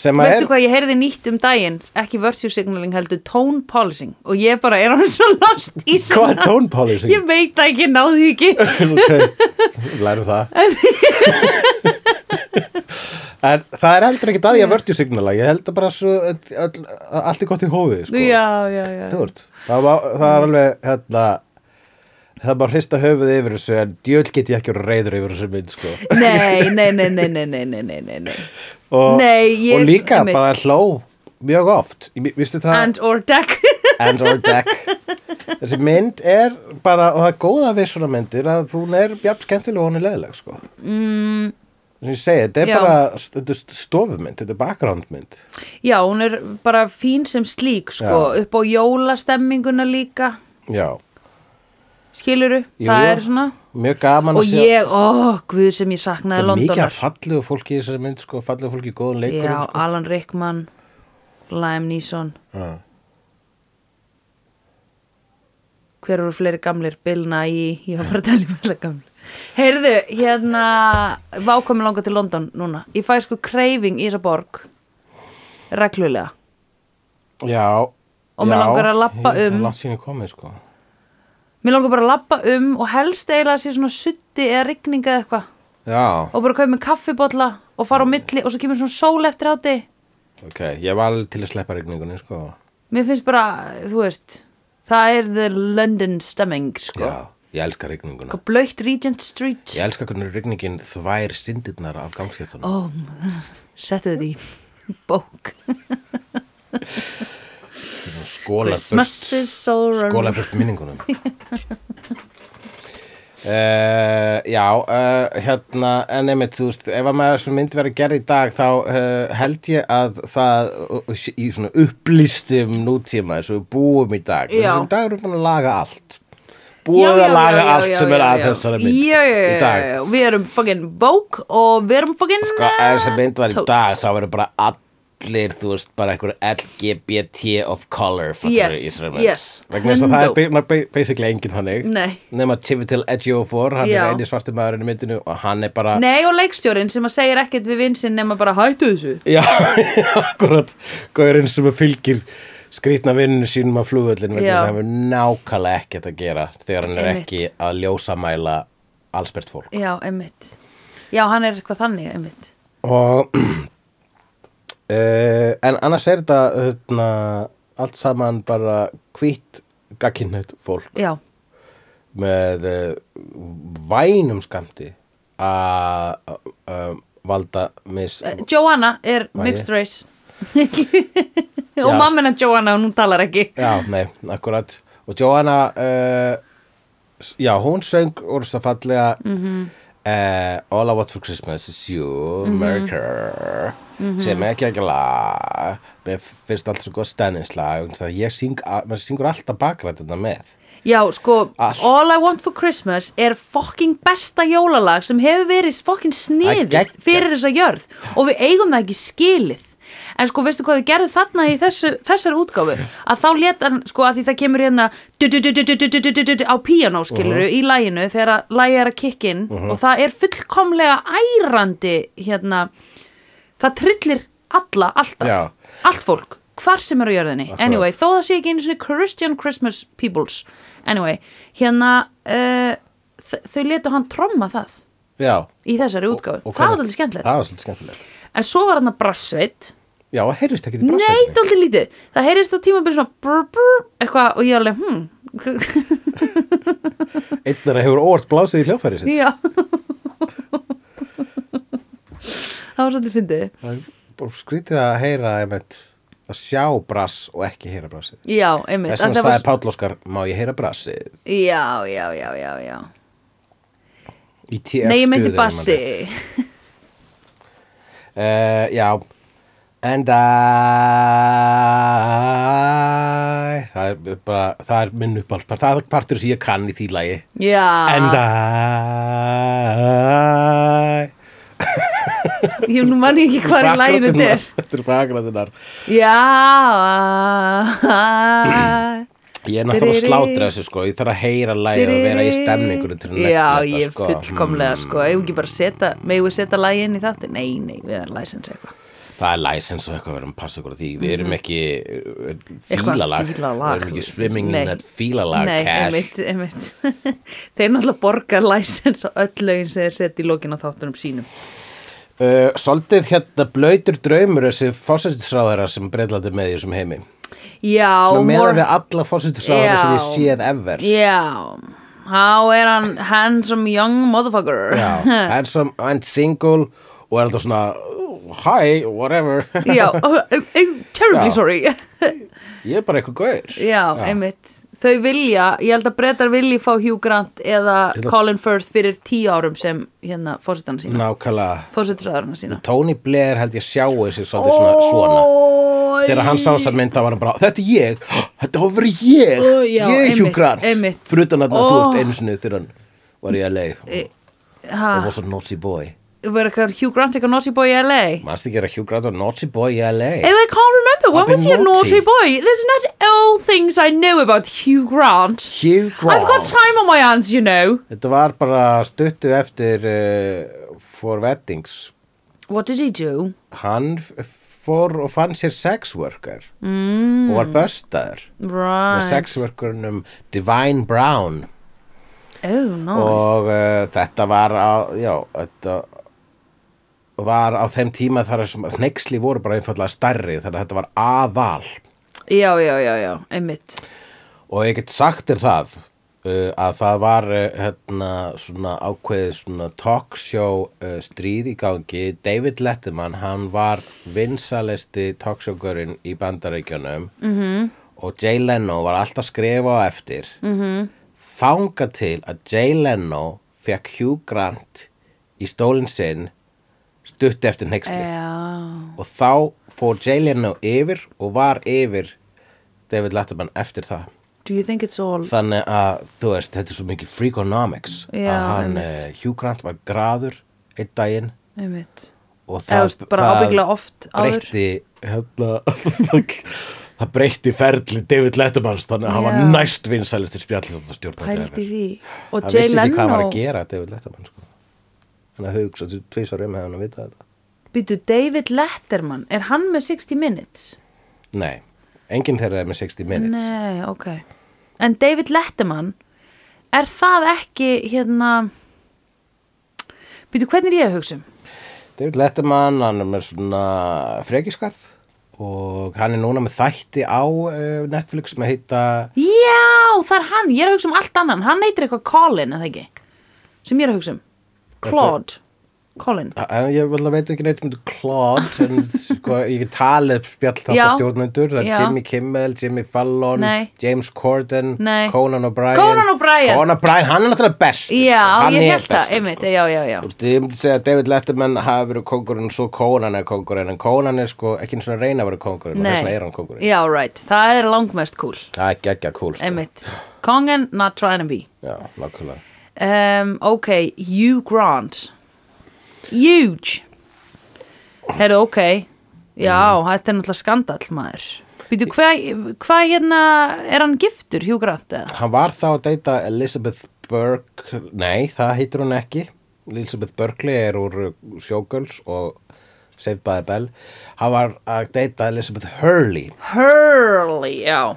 S2: Sem að
S1: veistu
S2: er,
S1: hvað ég heyrði nýtt um daginn ekki virtue signaling heldur tone policing og ég bara er hann svo lost
S2: hvað
S1: í
S2: er
S1: svona
S2: tone policing?
S1: ég veit það ekki, náði því ekki
S2: ok, lærum það en það er heldur ekki að ég vördu signala ég held að bara svo öll, öll- allt er gott í hófið sko.
S1: já, já, já
S2: Þú veist, það, var, það er alveg hérna, það er bara að hrista höfuð yfir þessu en djöl get ég ekki verið reyður yfir þessu mynd sko.
S1: nei, nei, nei, nei, nei, nei, nei, nei, nei, nei
S2: og,
S1: Nei, ég er
S2: og líka
S1: einmitt.
S2: bara hló mjög oft Ég- Vistu það?
S1: and or deck
S2: and or deck þessi mynd er bara og það er góða við svona myndir að hún er jafn skemmtileg og hún er leðileg sko. mm. sem ég segi, þetta er
S1: Já.
S2: bara þetta er stofumynd, þetta er bakgrándmynd
S1: já, hún er bara fín sem slík sko, upp á jólastemminguna líka
S2: já,
S1: skiluru,
S2: Jú,
S1: það
S2: jú.
S1: er svona
S2: mjög gaman
S1: og
S2: að
S1: ég, ó, guð sem ég
S2: það
S1: saknaði
S2: er mikið
S1: Londonar
S2: af fallegu fólki í þessari mynd sko, fallegu fólki í góðum
S1: já,
S2: leikurum sko.
S1: Alan Rickman Liam Neeson
S2: Já.
S1: hver eru fleiri gamlir, Bill Nye ég var bara að tala um alla gamlir heyrðu, hérna vákomi langa til London núna ég fæ sko kreifing í þessa borg reglulega
S2: já
S1: Og mig
S2: já,
S1: langar að labba
S2: ég-
S1: um.
S2: langt síðan ég komið sko
S1: mér langar bara að lappa um og helst eiginlega að sé svona sutti eða rigninga eða eitthvað
S2: já,
S1: og bara kaupa með kaffibotla og fara á milli og svo kemur svona sól eftir hátti
S2: ok, ég var alveg til að sleppa regningunni sko
S1: mér finnst bara, þú veist það er the London stemming sko
S2: já, ég elska regninguna
S1: Eitthvað Sko, blöytt Regent Street
S2: ég elska hvernig regningin þvær syndirnar af gangstéttunum
S1: Ó, m- settu þetta í bók
S2: oh. skólar
S1: Christmas is so
S2: skóla burt minningunum Uh, já, uh, hérna en einmitt, þú veist, ef að maður sem mynd verið gerð í dag þá uh, held ég að það uh, í svona upplýstum nútíma eins og við búum í dag
S1: Já.
S2: þessum dag eru búin að laga allt búið að laga allt sem er að þessari mynd
S1: já, já,
S2: í dag
S1: já, já. við erum fucking eh, bók og við erum fucking
S2: sko, ef þessi mynd var í
S1: totes.
S2: dag þá verður bara allir, þú veist, bara einhver LGBT of color fattar
S1: Yes,
S2: við, í þessari mynd.
S1: yes,
S2: vegna þess að það er
S1: hundó.
S2: ba- ma- ba- basically enginn þannig
S1: Nei.
S2: nema Chivitil Ejiofor, hann
S1: Já.
S2: er eini svartu maðurinn í myndinu og hann er bara
S1: Nei og leikstjórinn sem að segir ekkert við vinsinn nema bara hættu þessu
S2: Já, akkurat Gaurinn sem fylgir skrýtna vinninu sínum á flugvöllin vegna þess
S1: Já.
S2: að hann hefur nákvæmlega ekkert að gera þegar hann er
S1: Einmitt.
S2: ekki að ljósamæla allsbært fólk
S1: Já, einmitt Já, hann er eitthvað þannig, einmitt
S2: og uh, en annars er þetta hérna, allt saman bara hvít gagkinnut fólk
S1: Já,
S2: með uh, vænum skamti að uh, valda mis
S1: Eh, Joanna er
S2: Vægi.
S1: mixed race Og mammina Joanna, hún talar ekki
S2: Já, nei, akkurat Og Joanna uh, s- Já, hún söng úrst að fallega
S1: Mhm.
S2: eh, All I Want For Christmas is You, Murder
S1: Mhm.
S2: sem er ekki ekki lag Mér finnst alltaf svo góð stenninslag vegna þess að ég syng, a- maður syngur alltaf bakrættina með
S1: Já, sko,
S2: Allt.
S1: All I Want For Christmas er fucking besta jólalag sem hefur verið fucking
S2: Það er
S1: sniðið
S2: geggjað.
S1: fyrir þessa jörð og við eigum það ekki skilið en sko, veistu hvað þið gerðu þarna í þessu, þessari útgáfu að þá leta hann, sko, að því það kemur hérna du- du- du- du- du- du- du- du- du- du- du- á píanó, skiluru,
S2: Uh-huh.
S1: í læginu þegar að lægi er að kikkin uh og það er fullkomlega ærandi hérna, það trillir alla, alltaf,
S2: Já.
S1: allt fólk hvar sem er á jörðinni,
S2: Akkurat.
S1: anyway þó það sé ekki einu svona Christian Christmas Peoples anyway, hérna uh, þ- þau letu hann tromma það
S2: Já
S1: í þessari útgáfu, það var alveg
S2: Það
S1: skemmtilegt
S2: var svolítið skemmtilegt
S1: en svo var hann að brassveit
S2: Já, heyrðist ekki til
S1: nei,
S2: brassveitinni.
S1: dálítið lítið, það heyrist á tímabili svona brr, brr, eitthvað og ég alveg hmm,
S2: Einn er að hefur óvart blásið í hljófæri sitt
S1: já það var svolítið fyndið
S2: Það er bara Skrítið að heyra einmitt, að sjá brass og ekki heyra brassið
S1: já, einmitt
S2: Þess
S1: að
S2: vegna
S1: það var
S2: sagði Páll Óskar, má ég heyra brassið
S1: já, já, já, já, já
S2: Í TF
S1: nei, ég meinti
S2: stuðið,
S1: bassi
S2: ef ég man rétt. Eh, já And I Það er bara, það er minn uppáhaldspart Það er partur sem ég kann í því lagi
S1: já,
S2: And I
S1: ég nú manni ekki hvað er lægið þetta er
S2: Þetta er fagræðinar
S1: Já
S2: Ég er náttúrulega að slátra þessu sko Ég þarf að heyra lagið og vera í stemningur
S1: Já,
S2: sko.
S1: ég er
S2: Hmm.
S1: fullkomlega
S2: Mm.
S1: sko Ég ekki bara setja, megum við setja lagi inn í þátti Nei, nei, við erum license eitthvað
S2: Það er license og eitthvað við erum að passa okkur á því Við erum ekki uh,
S1: Mhm. Eitthvað
S2: fílalag
S1: fílalag.
S2: Við erum ekki swimming
S1: Nei.
S2: in that fílalag
S1: Nei,
S2: cash
S1: einmitt, einmitt Þeir náttúrulega borga license á öll lögin sem þeir setja í lokin á þáttunum sínum
S2: Uh, Svolítið hérna blöytur draumur þessi fósætisráðara sem breyðlandi með í þessum heimi
S1: Já,
S2: Svona meðan
S1: mor-
S2: við alla fósætisráðara sem ég
S1: Já.
S2: séð ever
S1: Já Há er hann handsome young motherfucker
S2: Já, handsome and single og er alltaf svona "Oh, Hi, whatever
S1: Já, uh, uh, uh, terribly
S2: Já.
S1: sorry
S2: Ég er bara eitthvað gaur
S1: Já, einmitt Þau vilja, ég held að brettar vilji fá Hugh Grant eða
S2: Til að-
S1: Colin Firth fyrir tíu árum sem hérna fósittana sína
S2: Nákvæmlega
S1: fósittisraðurna sína
S2: Tony Blair held ég sjáu þessi svolítið svona, svona. Þegar hann sá þess að mynd þá var hann bara Þetta er ég, þetta var verið ég
S1: Ó, já,
S2: Ég er
S1: einmitt,
S2: Hugh Grant
S1: einmitt.
S2: Frutan að þú
S1: Ó. ah.
S2: ert einu sinni þegar hann var í LA og og
S1: Ha,
S2: var svo naughty boy
S1: var eitthvað Hugh Grant eitthvað naughty boy í LA?
S2: Manstu ekki að Hugh Grant var naughty boy í LA
S1: If I can't remember, when
S2: I've been
S1: was he a naughty
S2: naughty.
S1: boy? There's not all things I know about Hugh Grant.
S2: Hugh Grant
S1: I've got time on my hands, you know.
S2: Þetta var bara stuttu eftir uh, For Weddings
S1: What did he do?
S2: Hann f- fór og fann sér sex worker
S1: Mm,
S2: og var böstaður með
S1: right.
S2: sex workernum Divine Brown
S1: Oh, nice.
S2: og uh, þetta var á, já, þetta var á þeim tíma þar sem hneiksli voru bara einfallega stærri þannig að þetta var aðal
S1: Já, já, já, já, einmitt.
S2: og ég get sagt þér það uh, að það var uh, hérna, svona ákveðið svona talk show uh, stríð í gangi David Letterman, hann var vinsalisti talk showgörinn í bandaríkjunum -hmm. og Jay Leno var alltaf að skrifa á eftir mm -hmm. þanga til að Jay Leno fekk Hugh Grant í stólinn sinn stutt eftir neykslið
S1: Já.
S2: og þá fór Jay Leno yfir og var yfir David Letterman eftir það
S1: Do you think it's all...
S2: þannig að þú veist, þetta er svo mikið freakonomics
S1: Já,
S2: að hann,
S1: einmitt.
S2: eh, Hugh Grant var graður einn daginn
S1: Einmitt.
S2: og
S1: Eða, þú
S2: það,
S1: veist, bara ábyggilega oft áður.
S2: breytti hérna, það breytti ferli David Lettermans þannig að hann
S1: Já.
S2: var næst vinsælistir
S1: pældi
S2: spjallið
S1: því og
S2: hann
S1: Jay
S2: vissi ekki hvað hann var að
S1: Leno,
S2: gera David Letterman sko. hann hafði hugsað tvisar um hefðan að vita þetta
S1: býtu David Letterman er hann með 60 Minutes?
S2: nei, enginn þeirra er með 60 minutes
S1: Nei, ok en David Letterman er það ekki hérna býtu hvernig er ég að hugsa um?
S2: David Letterman, hann er með svona frekiskarð og hann er núna með þætti á uh, Netflix sem heita
S1: Já, það er hann, ég er að hugsa um allt annan hann heitir eitthvað Colin, eða ekki sem ég er að hugsa um, Claude Colin,
S2: Eh, Ég vel að veit ekki neitt um Claude en sko, ég get talið spjall þetta
S1: Já.
S2: stjórnendur það
S1: Já.
S2: er Jimmy Kimmel, Jimmy Fallon
S1: Nei.
S2: James Corden,
S1: Nei.
S2: Conan O'Brien
S1: Conan O'Brien.
S2: Conan O'Brien, hann er sko. náttúrulega best
S1: já,
S2: hann
S1: ég
S2: er
S1: held það
S2: best,
S1: einmitt, já, já, já,
S2: Þú veist, Ég myndi segja að David Letterman hafi verið kongurinn svo Conan er kongurinn en Conan er sko ekki eins og að reyna að vera kongurinn og þess vegna er hann kongurinn
S1: já, right það er langmest cool,
S2: Það er geggja cool sko.
S1: einmitt Kongen, not trying to be
S2: Já, nákvæmlega
S1: um, ok, Hugh Grant huge herru, ok já, þetta er náttúrulega skandall maður býtu, hvað hva hérna er hann giftur, Hugh Grant eða?
S2: Hann var þá að deyta Elizabeth Burke Nei, það heitir hún ekki Elizabeth Berkley er úr uh, Showgirls og Saved by the Bell Hann var að deyta Elizabeth Hurley
S1: Hurley, já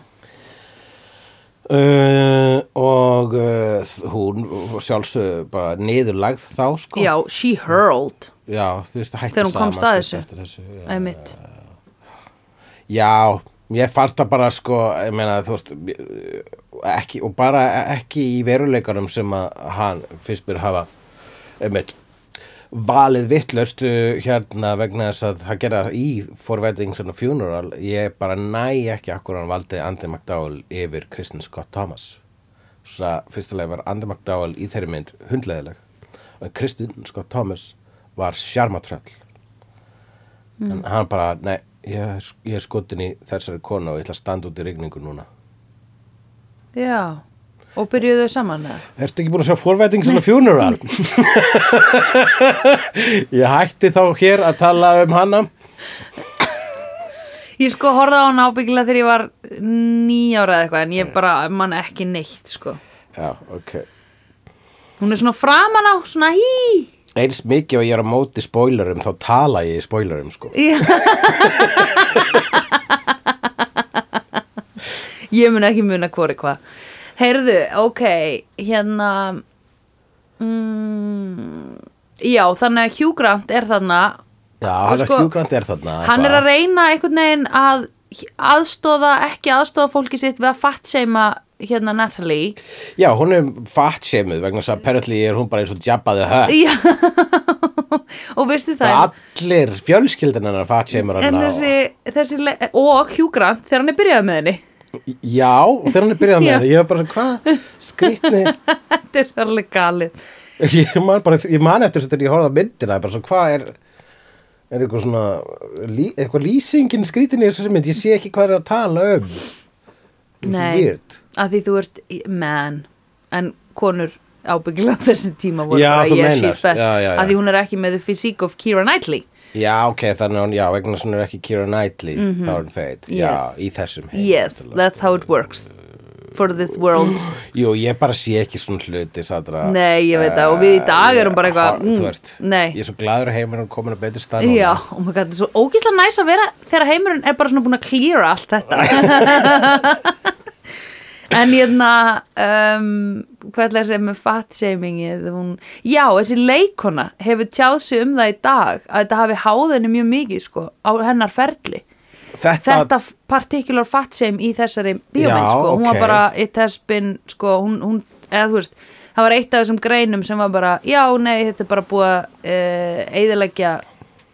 S2: uh, og uh, hún sjálfsög bara niðurlagð þá sko
S1: já, she hurled
S2: Já, þú veist, hættu
S1: Þegar hún
S2: saman,
S1: komst að
S2: sko,
S1: þessu.
S2: eftir þessu já.
S1: einmitt,
S2: Já, ég fannst það bara sko, ég meina þú veist ekki, og bara ekki í veruleikanum sem að hann fyrst mér hafa einmitt, valið vittlust hérna vegna þess að það gerða í For Weddings and a Funeral ég bara næ ekki akkur hann valdi Andy McDowell yfir Kristen Scott Thomas svo að fyrstulega var Andy McDowell í þeirri mynd hundleðileg en Kristen Scott Thomas var sjarmatröll
S1: Mm.
S2: en hann bara, nei, ég, er- ég er skotin í þessari konu og ég ætla að standa út í rigningu núna
S1: já og byrjuðu þau saman eða?
S2: Ertu ekki búin að sjá forvæting sem að funeral? ég hætti þá hér að tala um hana
S1: ég sko horfði á hann ábyggilega þegar ég var nýjára eða eitthvað en ég bara man ekki neitt sko
S2: Já, ok
S1: hún er svona framan á, svona hí
S2: Eins mikið og ég er á móti spoilerum þá tala ég í spoilerum sko
S1: Já. ég mun ekki muna hvori hvað heyrðu, ok hérna mm, já, þannig að Hugh Grant er þarna
S2: Já, hann
S1: sko,
S2: er hjúgrandi er þarna
S1: hann er
S2: eitthvað.
S1: að reyna einhvern veginn að aðstóða, ekki aðstóða fólki sitt við að fattseima hérna Natalie
S2: Já, hún er fatseimuð vegna þess að apparently er hún bara eins og jabbaði hö
S1: já og veistu það
S2: Allir fjölskyldan hennar fatseimur
S1: en
S2: hann
S1: þessi, þessi le- og Hugh Grant þegar hann er byrjað með henni
S2: Já, og þegar hann er byrjað með
S1: Já.
S2: henni ég var bara, hvað, skrýtni
S1: þetta er alveg galið
S2: ég man bara, ég man eftir þessu þegar ég horfði á myndina bara svo hvað er er eitthvað svona lí, eitthvað lýsingin skrítin í þessu mynd ég sé ekki hvað er að tala um
S1: Nei,
S2: Weird.
S1: að því þú ert í- man en konur ábyggilega á þessu tíma voru
S2: Já,
S1: bara
S2: þú
S1: yeah,
S2: meinar.
S1: she's fat
S2: Já, já, já.
S1: að því hún er ekki með the physique of Keira Knightley
S2: já ok, þannig að hún, já, vegna svona er ekki Keira Knightley þá er hún feit,
S1: Mhm. Yes.
S2: já, í þessum heim
S1: yes,
S2: náttúrulega.
S1: that's how it works for this world
S2: jú, ég bara sé ekki svona hluti sadra,
S1: Nei, ég veit það, og við í dag erum bara eitthvað, mm,
S2: þú veist,
S1: nei.
S2: ég er svo gladur að heimur hún komin að betur stað núna.
S1: já, oh my god, það er svo ógíslega næs að vera þegar heimurinn er bara svona búin að klýra allt þetta en hérna um, hvað ætla að segja með fatshamingið hún... já, þessi leikona hefur tjáð sig um það í dag að þetta hafi háð henni mjög mikið sko, á hennar ferli
S2: þetta,
S1: þetta partikular fatsheim í þessari bíómynd
S2: Já,
S1: sko, hún var
S2: ok.
S1: bara it has been, sko, hún, hún eða þú veist, það var eitt af þessum greinum sem var bara, já, nei, þetta er bara búið að e, eðilegja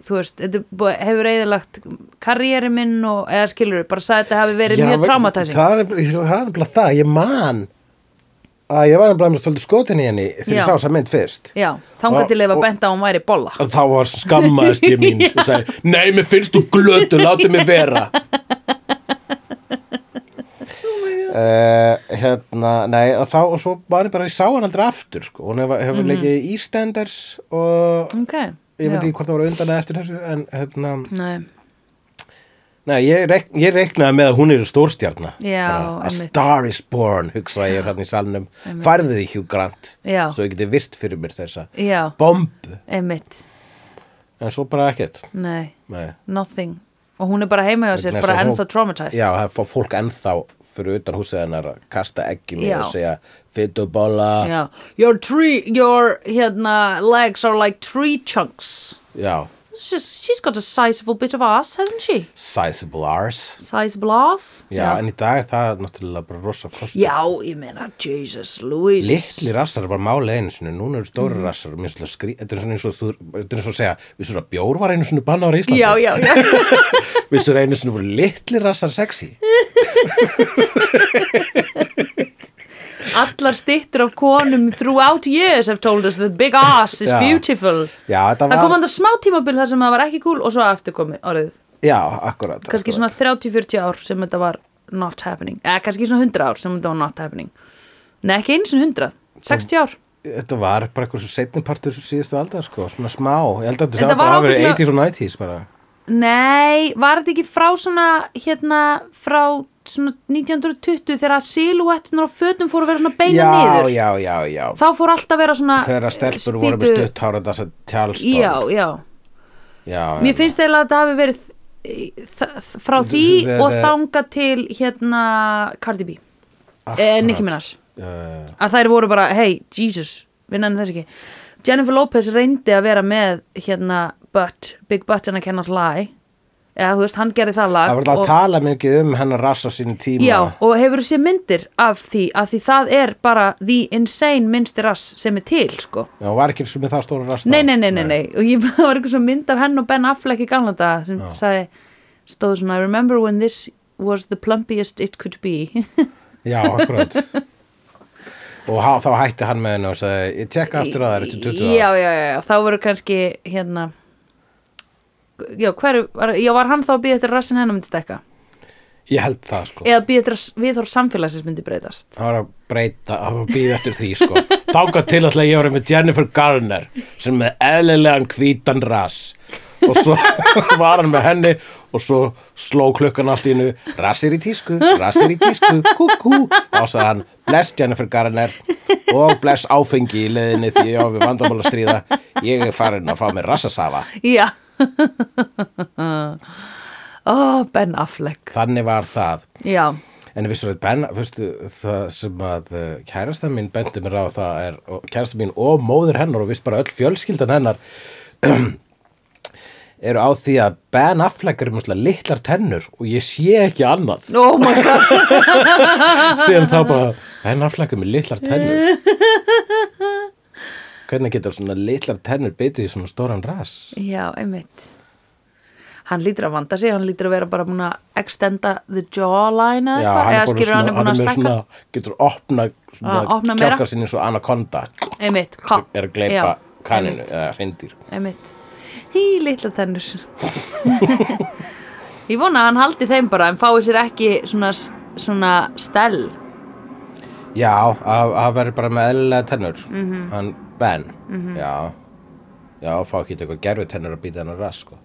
S1: þú veist, þetta er búið, hefur eðilagt karrieri minn og, eða skilur bara sagði þetta hafi verið
S2: Já,
S1: mjög
S2: vegna-
S1: traumatizing
S2: það er nefnilega- það er nefnilega það, ég man að ég var nefnilega með svolítið skotin í henni þegar
S1: Já.
S2: ég sá þess mynd fyrst
S1: já, þangað
S2: Og-
S1: til ef að
S2: og-
S1: benda að hún væri bolla
S2: að þá var skammaðist ég mín og sagði, nei, mér finnst þú glötu, látið mér vera
S1: Oh
S2: Uh, hérna, nei, og þá og svo var ég bara, ég sá hann aldrei aftur sko. hún hefur hef mm -hmm. leikið í EastEnders og
S1: ok,
S2: ég veit
S1: Mhm. Já.
S2: ekki hvort það voru undan eða eftir þessu en hérna,
S1: Nei,
S2: nei, ég, reik, ég reiknaði með að hún er stórstjarna
S1: Já,
S2: Bara, a
S1: einmitt.
S2: star is born, hugsaði ég þannig í salnum farðu því Hugh Grant
S1: Já.
S2: svo ég geti virt fyrir mér þessa
S1: já,
S2: bombu,
S1: einmitt
S2: en svo bara ekkert
S1: Nei,
S2: nei
S1: nothing Og hún er bara heima hjá sér,
S2: Vegna
S1: bara
S2: þess að
S1: ennþá
S2: hún-
S1: traumatized
S2: Já, það fá fólk ennþá fyrir utan húsið hennar að kasta eggjum í
S1: Já.
S2: og segja fitubóla já.
S1: Já. Your tree, your hérna, legs are like tree chunks She's, she's got a sizable bit of ass, hasn't she?
S2: sizable arse
S1: Sizable ass
S2: já, en í dag er það náttúrulega bara rosa kostur
S1: Já, ég meina, Jesus, Louise
S2: Litli rassar var málið einu sinni, núna eru stóri mm. rassar og mér svolítið skrý, þetta er svona eins og þú, þetta er svona að segja, við svona bjór var einu sinni banna á Íslandi,
S1: Já, já, já
S2: við svona einu sinni voru litli rassar sexy.
S1: Allar stittur af konum throughout years have told us that big ass is
S2: Já.
S1: beautiful
S2: Já, þetta
S1: Það kom
S2: var,
S1: hann það smá tímabil þar sem það var ekki cool og svo aftur komið orðið
S2: já, akkurat.
S1: kannski svona 30-40 ár sem þetta var not happening eða kannski svona 100 ár sem þetta var not happening Nei, ekki einu sinni 100 60 ár
S2: Þetta var bara eitthvað svo setni partur síðustu aldar, sko, svona smá, ég held að
S1: Þetta
S2: þetta
S1: var
S2: var bara
S1: ábyggilega-
S2: 80s og 90s bara.
S1: Nei, var þetta ekki frá svona hérna frá svona 1920 þegar silhúettunar á fötum fóru að vera svona beina
S2: já,
S1: niður
S2: Já, já, já,
S1: þá fór alltaf að vera svona
S2: þegar að stelpur voru með
S1: spýtu-
S2: stutt hára þess að tjálstorm
S1: Já, já
S2: já
S1: Mér finnst eiginlega að þetta hafi verið eh, þa- þa- frá því
S2: Þetta-
S1: og
S2: þetta-
S1: þanga til hérna Cardi B, eh, Nicki Minaj
S2: uh,
S1: að þær voru bara, hey, Jesus við nefnum þess ekki Jennifer Lopez reyndi að vera með hérna butt, big butt and I cannot lie eða þú veist, hann gerði það lag
S2: Það var alltaf að tala mikið um hennar rass á sínum tíma
S1: já, og hefur séð myndir af því að því það er bara the insane minnsti rass sem er til, sko
S2: Já, hún var ekki sem með það stóra rass
S1: nei,
S2: þá.
S1: nei, nei, nei, nei, og ég það var eitthvað svo mynd af henn og Ben Affleck í gamla daga sem sagði, stóð svona I remember when this was the plumpiest it could be
S2: Já, akkurat Og há, þá hætti hann með henni og sagði Ég tekka aftur að það er eftir 20
S1: já, já, já, já, þá voru kannski hérna já, hver, var, já, var hann þá að býða eftir að rassin hennar myndi stekka
S2: ára Ég held það, sko
S1: eða býða eftir að viðhorf samfélagsins myndi breytast
S2: Það var að breyta, það var að býða eftir því, sko Þáka til alltaf ég var með Jennifer Garner sem með eðlilegan hvítan rass og svo var hann með henni og svo sló klukkan allt í hennu rassir í tísku, rassir í tísku kúkú, þá sagði hann bless Jennifer Garner og bless áfengi í leðinni því ég á við vandamál að stríða ég er farin að fá mér rassasafa
S1: já ó, Ben Affleck
S2: þannig var það
S1: já,
S2: En við svo ben, fyrstu, það sem að uh, kærasta mín bendi mér á það er, og kærasta mín og móður hennar og vist bara öll fjölskyldan hennar eru á því að Ben Affleck er um litlar tennur og ég sé ekki annað
S1: oh my god
S2: sem þá bara Ben Affleck er með litlar tennur Hvernig getur svona litlar tennur beitið í svona stóran rass?
S1: Já, einmitt. Hann lítur að vanda sig, hann lítur að vera bara búin að extenda the jawline eða eitthvað, eða
S2: búinn að
S1: skilur hann er búin að
S2: með
S1: stækka.
S2: svona, getur opnað svona
S1: Ah, opnað meira.
S2: kjarkar sinni svo anaconda
S1: Einmitt, ha.
S2: er að gleypa
S1: Já,
S2: kaninu
S1: einmitt,
S2: eða hrindir
S1: Einmitt. Hí, litla tennur. Ég vona að hann haldi þeim bara, en fái sér ekki svona, svona stell.
S2: Já, að að verður bara með eðlilega tennur
S1: Mhm.
S2: Hann Ben Já Já, fá ekki eitthvað gerfi tennur að býta hennar rass sko. Að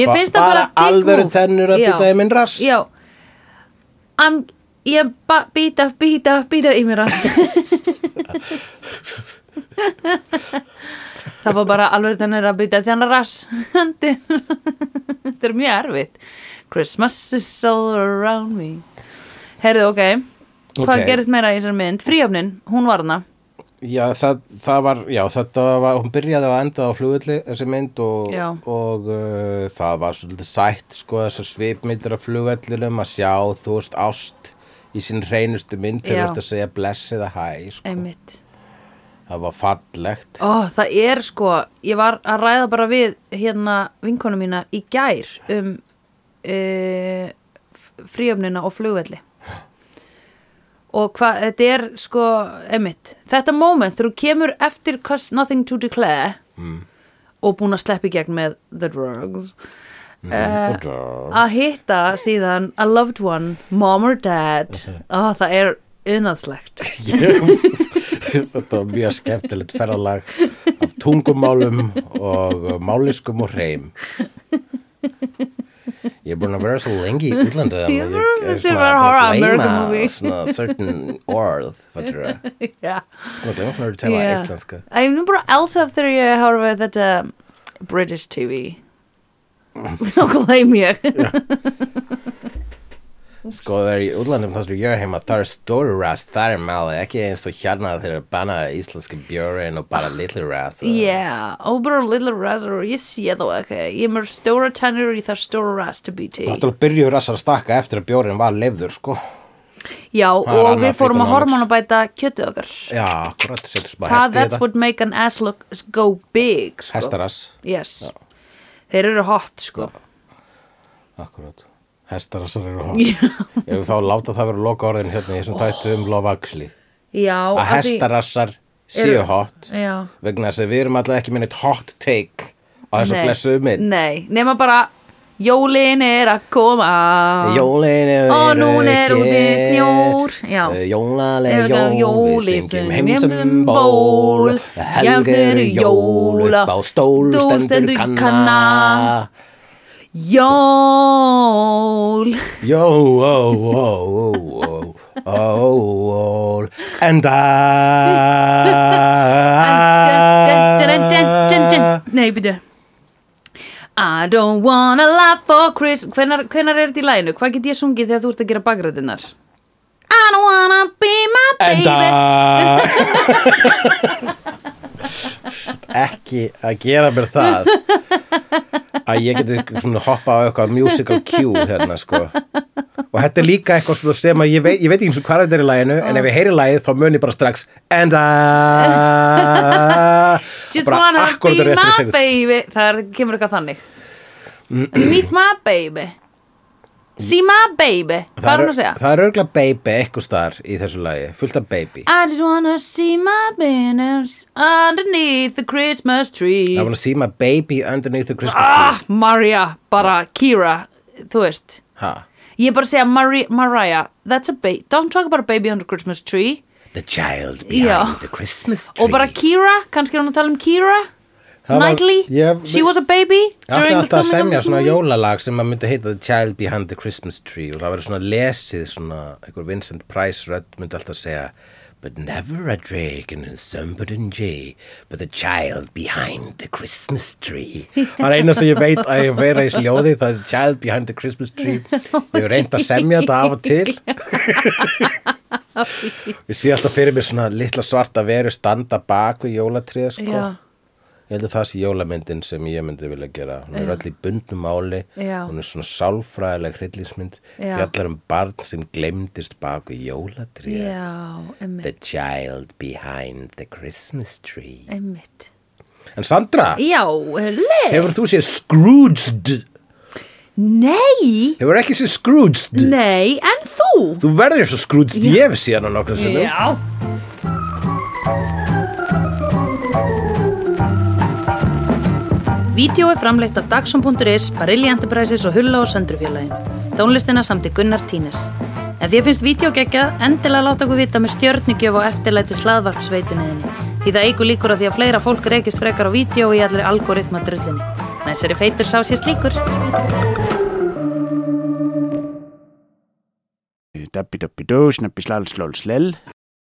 S1: Mér
S2: fá
S1: finnst það bara dick
S2: alvöru
S1: move.
S2: tennur að
S1: Já.
S2: býta í minn rass
S1: Já, I'm, ég ba- býta, býta, býta í mér hans. Það var bara alveg þannig að býta þannig rass. Þetta er mjög erfitt. Christmas is all around me. Herðu, ok. Hvað
S2: Ok.
S1: gerist meira í þessari mynd? Fríöfnin, hún var hana.
S2: Já, það, það var, já, þetta var, hún byrjaði að enda á flugulli, þessi mynd og,
S1: Já.
S2: og uh, það var svolítið sætt, sko, þessar svipmyndir af flugullinum að sjá, þú veist, ást í sín hreinustu mynd
S1: Já.
S2: þegar þú veist að segja bless eða hæ, sko,
S1: Einmitt.
S2: það var fallegt.
S1: Ó, það er sko, ég var að ræða bara við hérna vinkonu mína í gær um uh, fríöfnina og flugvelli og hvað, þetta er sko, emitt, þetta moment þegar þú kemur eftir Cause Nothing to Declare og búin að sleppa í gegn með The Drugs Eh,
S2: Uh,
S1: að hitta síðan a loved one, mom or dad, ó, það er unaðslegt
S2: ég, þetta var mjög skemmtilegt ferðalag af tungumálum og máliskum og hreim ég er búin að vera svo lengi í útlandi að
S1: Ég
S2: ég
S1: var-
S2: er
S1: þetta var horror
S2: svona búin
S1: American
S2: að
S1: movie.
S2: gleyma svona certain orð fattur að
S1: Já.
S2: gleyma svona að tala
S1: Já.
S2: íslenska
S1: Ég er nú bara alls eftir að ég horfa á þetta British TV þá gleym ég
S2: sko það er í útlandum þar sem ég er heima þar er stóru rast, þar er máli ekki eins og hérna þeir eru banna íslenski björin og bara litli rast
S1: Já, og bara little razor ég sé þá ekki, ég er mér stóra tennur í það stóra rast að býti
S2: Náttúrulega byrjuðu rassar að stakka eftir að bjórin var leifður, sko.
S1: Já,
S2: Það er
S1: og
S2: annað
S1: við fórum að
S2: economics.
S1: hormonabæta kjötið okkar
S2: Já, akkurat, setur sem bara
S1: Það,
S2: hesti í
S1: that's
S2: þetta.
S1: what make an ass look go big sko.
S2: Hestarass,
S1: Yes, þeir eru hot sko
S2: akkurat. Hestarassar eru hótt. Ef við þá láta það vera loka orðin hérna í þessum þættu um Love Actually.
S1: Já,
S2: Að
S1: af því-
S2: hestarassar séu
S1: Eru-
S2: hótt
S1: Já
S2: vegna þess að við erum alltaf ekki með neitt hot take á þessu
S1: Nei.
S2: blessuðu mynd.
S1: Nei, nema bara Jólin er að koma
S2: Jólin er
S1: Ó, núna er úti snjór. Já.
S2: Jólaleg
S1: Jóla,
S2: jól,
S1: jóli,
S2: við syngjum
S1: syngjum
S2: heim sem
S1: um
S2: ból
S1: ból.
S2: Helger
S1: Helgeru
S2: jól,
S1: jóla.
S2: upp á stól
S1: Stól
S2: stendur
S1: stendur
S2: kanna
S1: kanna. Jól
S2: Jó, ó, ó, ó, ó, ó, ó Enda Ah.
S1: Nei, byrju I don't wanna laugh for Christmas Hvenar, hvenar er þetta í læginu? Hvað get ég sungið þegar þú ert að gera bakrætinnar? I don't wanna be my baby
S2: Enda Ekki að gera mér það að ég geti svona hoppa á eitthvað musical cue hérna sko og þetta er líka eitthvað svona sem að ég veit, ég veit ekki eins og hvað þetta er í læginu en ef ég heyri lægið þá mun ég bara strax Enda
S1: Just wanna be my baby Það er- kemur eitthvað þannig Meet my baby See my baby Hvað er hann að segja?
S2: Það er örgulega baby eitthvað staðar í þessu lægi fullt af baby
S1: I just wanna see my penis Underneath the Christmas tree
S2: I wanna see my baby underneath the Christmas tree
S1: ah, Maria, bara Kira Þú veist
S2: ha.
S1: Ég er bara að segja Mari Mariah That's a baby Don't talk about a baby under Christmas tree
S2: The child behind
S1: Já.
S2: the Christmas tree
S1: Og bara Kira, kannski er hún að tala um Kira
S2: Það var-
S1: Knightley
S2: ég-
S1: She was a baby
S2: Ég ætlaði
S1: during the
S2: alltaf að
S1: filming of
S2: semja
S1: this
S2: svona
S1: movie.
S2: jólalag sem að myndi heita The Child Behind the Christmas Tree og það verður svona lesið svona einhver Vincent Price rödd myndi alltaf að segja But never a dragon in Sumbodin J but the child behind the Christmas tree Það er eina sem ég veit að ég vera í þessu ljóði það er Child Behind the Christmas Tree Ég hef reynd að semja þetta af og til Ég sé alltaf fyrir mér svona litla svarta veru standa bak við jólatrið sko
S1: Já.
S2: Ég held að það sé jólamyndin sem ég myndi vilja gera. Hún er öll í bundum máli,
S1: Já.
S2: hún er svona sálfræðileg hryllingsmynd,
S1: Já.
S2: fjallar um barn sem glemdist bak við jólatrið.
S1: Já,
S2: The
S1: einmitt,
S2: child behind the Christmas tree.
S1: einmitt.
S2: En Sandra,
S1: Já, le
S2: hefur þú séð Scrooged?
S1: Nei,
S2: Hefur ekki séð Scrooged?
S1: nei, en þú
S2: Þú verður svo Scrooged, ég hef séð hann okkur sem
S1: Já Vídeó er framleitt af Dagsum.is, Barilli Enterprises og Hulla og Söndrufjörlægin. Tónlistina samt í Gunnar Tínes. Ef þér finnst vídeo geggja, endilega láta okkur vita með stjörnigjöf og eftirlæti slaðvarpsveitunniðinni. Því það eigur líkur að því að fleira fólk reykist frekar á vídeo í allri algoritma drullinni. Næsari feitur sá sér slíkur.
S3: Dabbi dabbi dó, snabbi slal slól slell.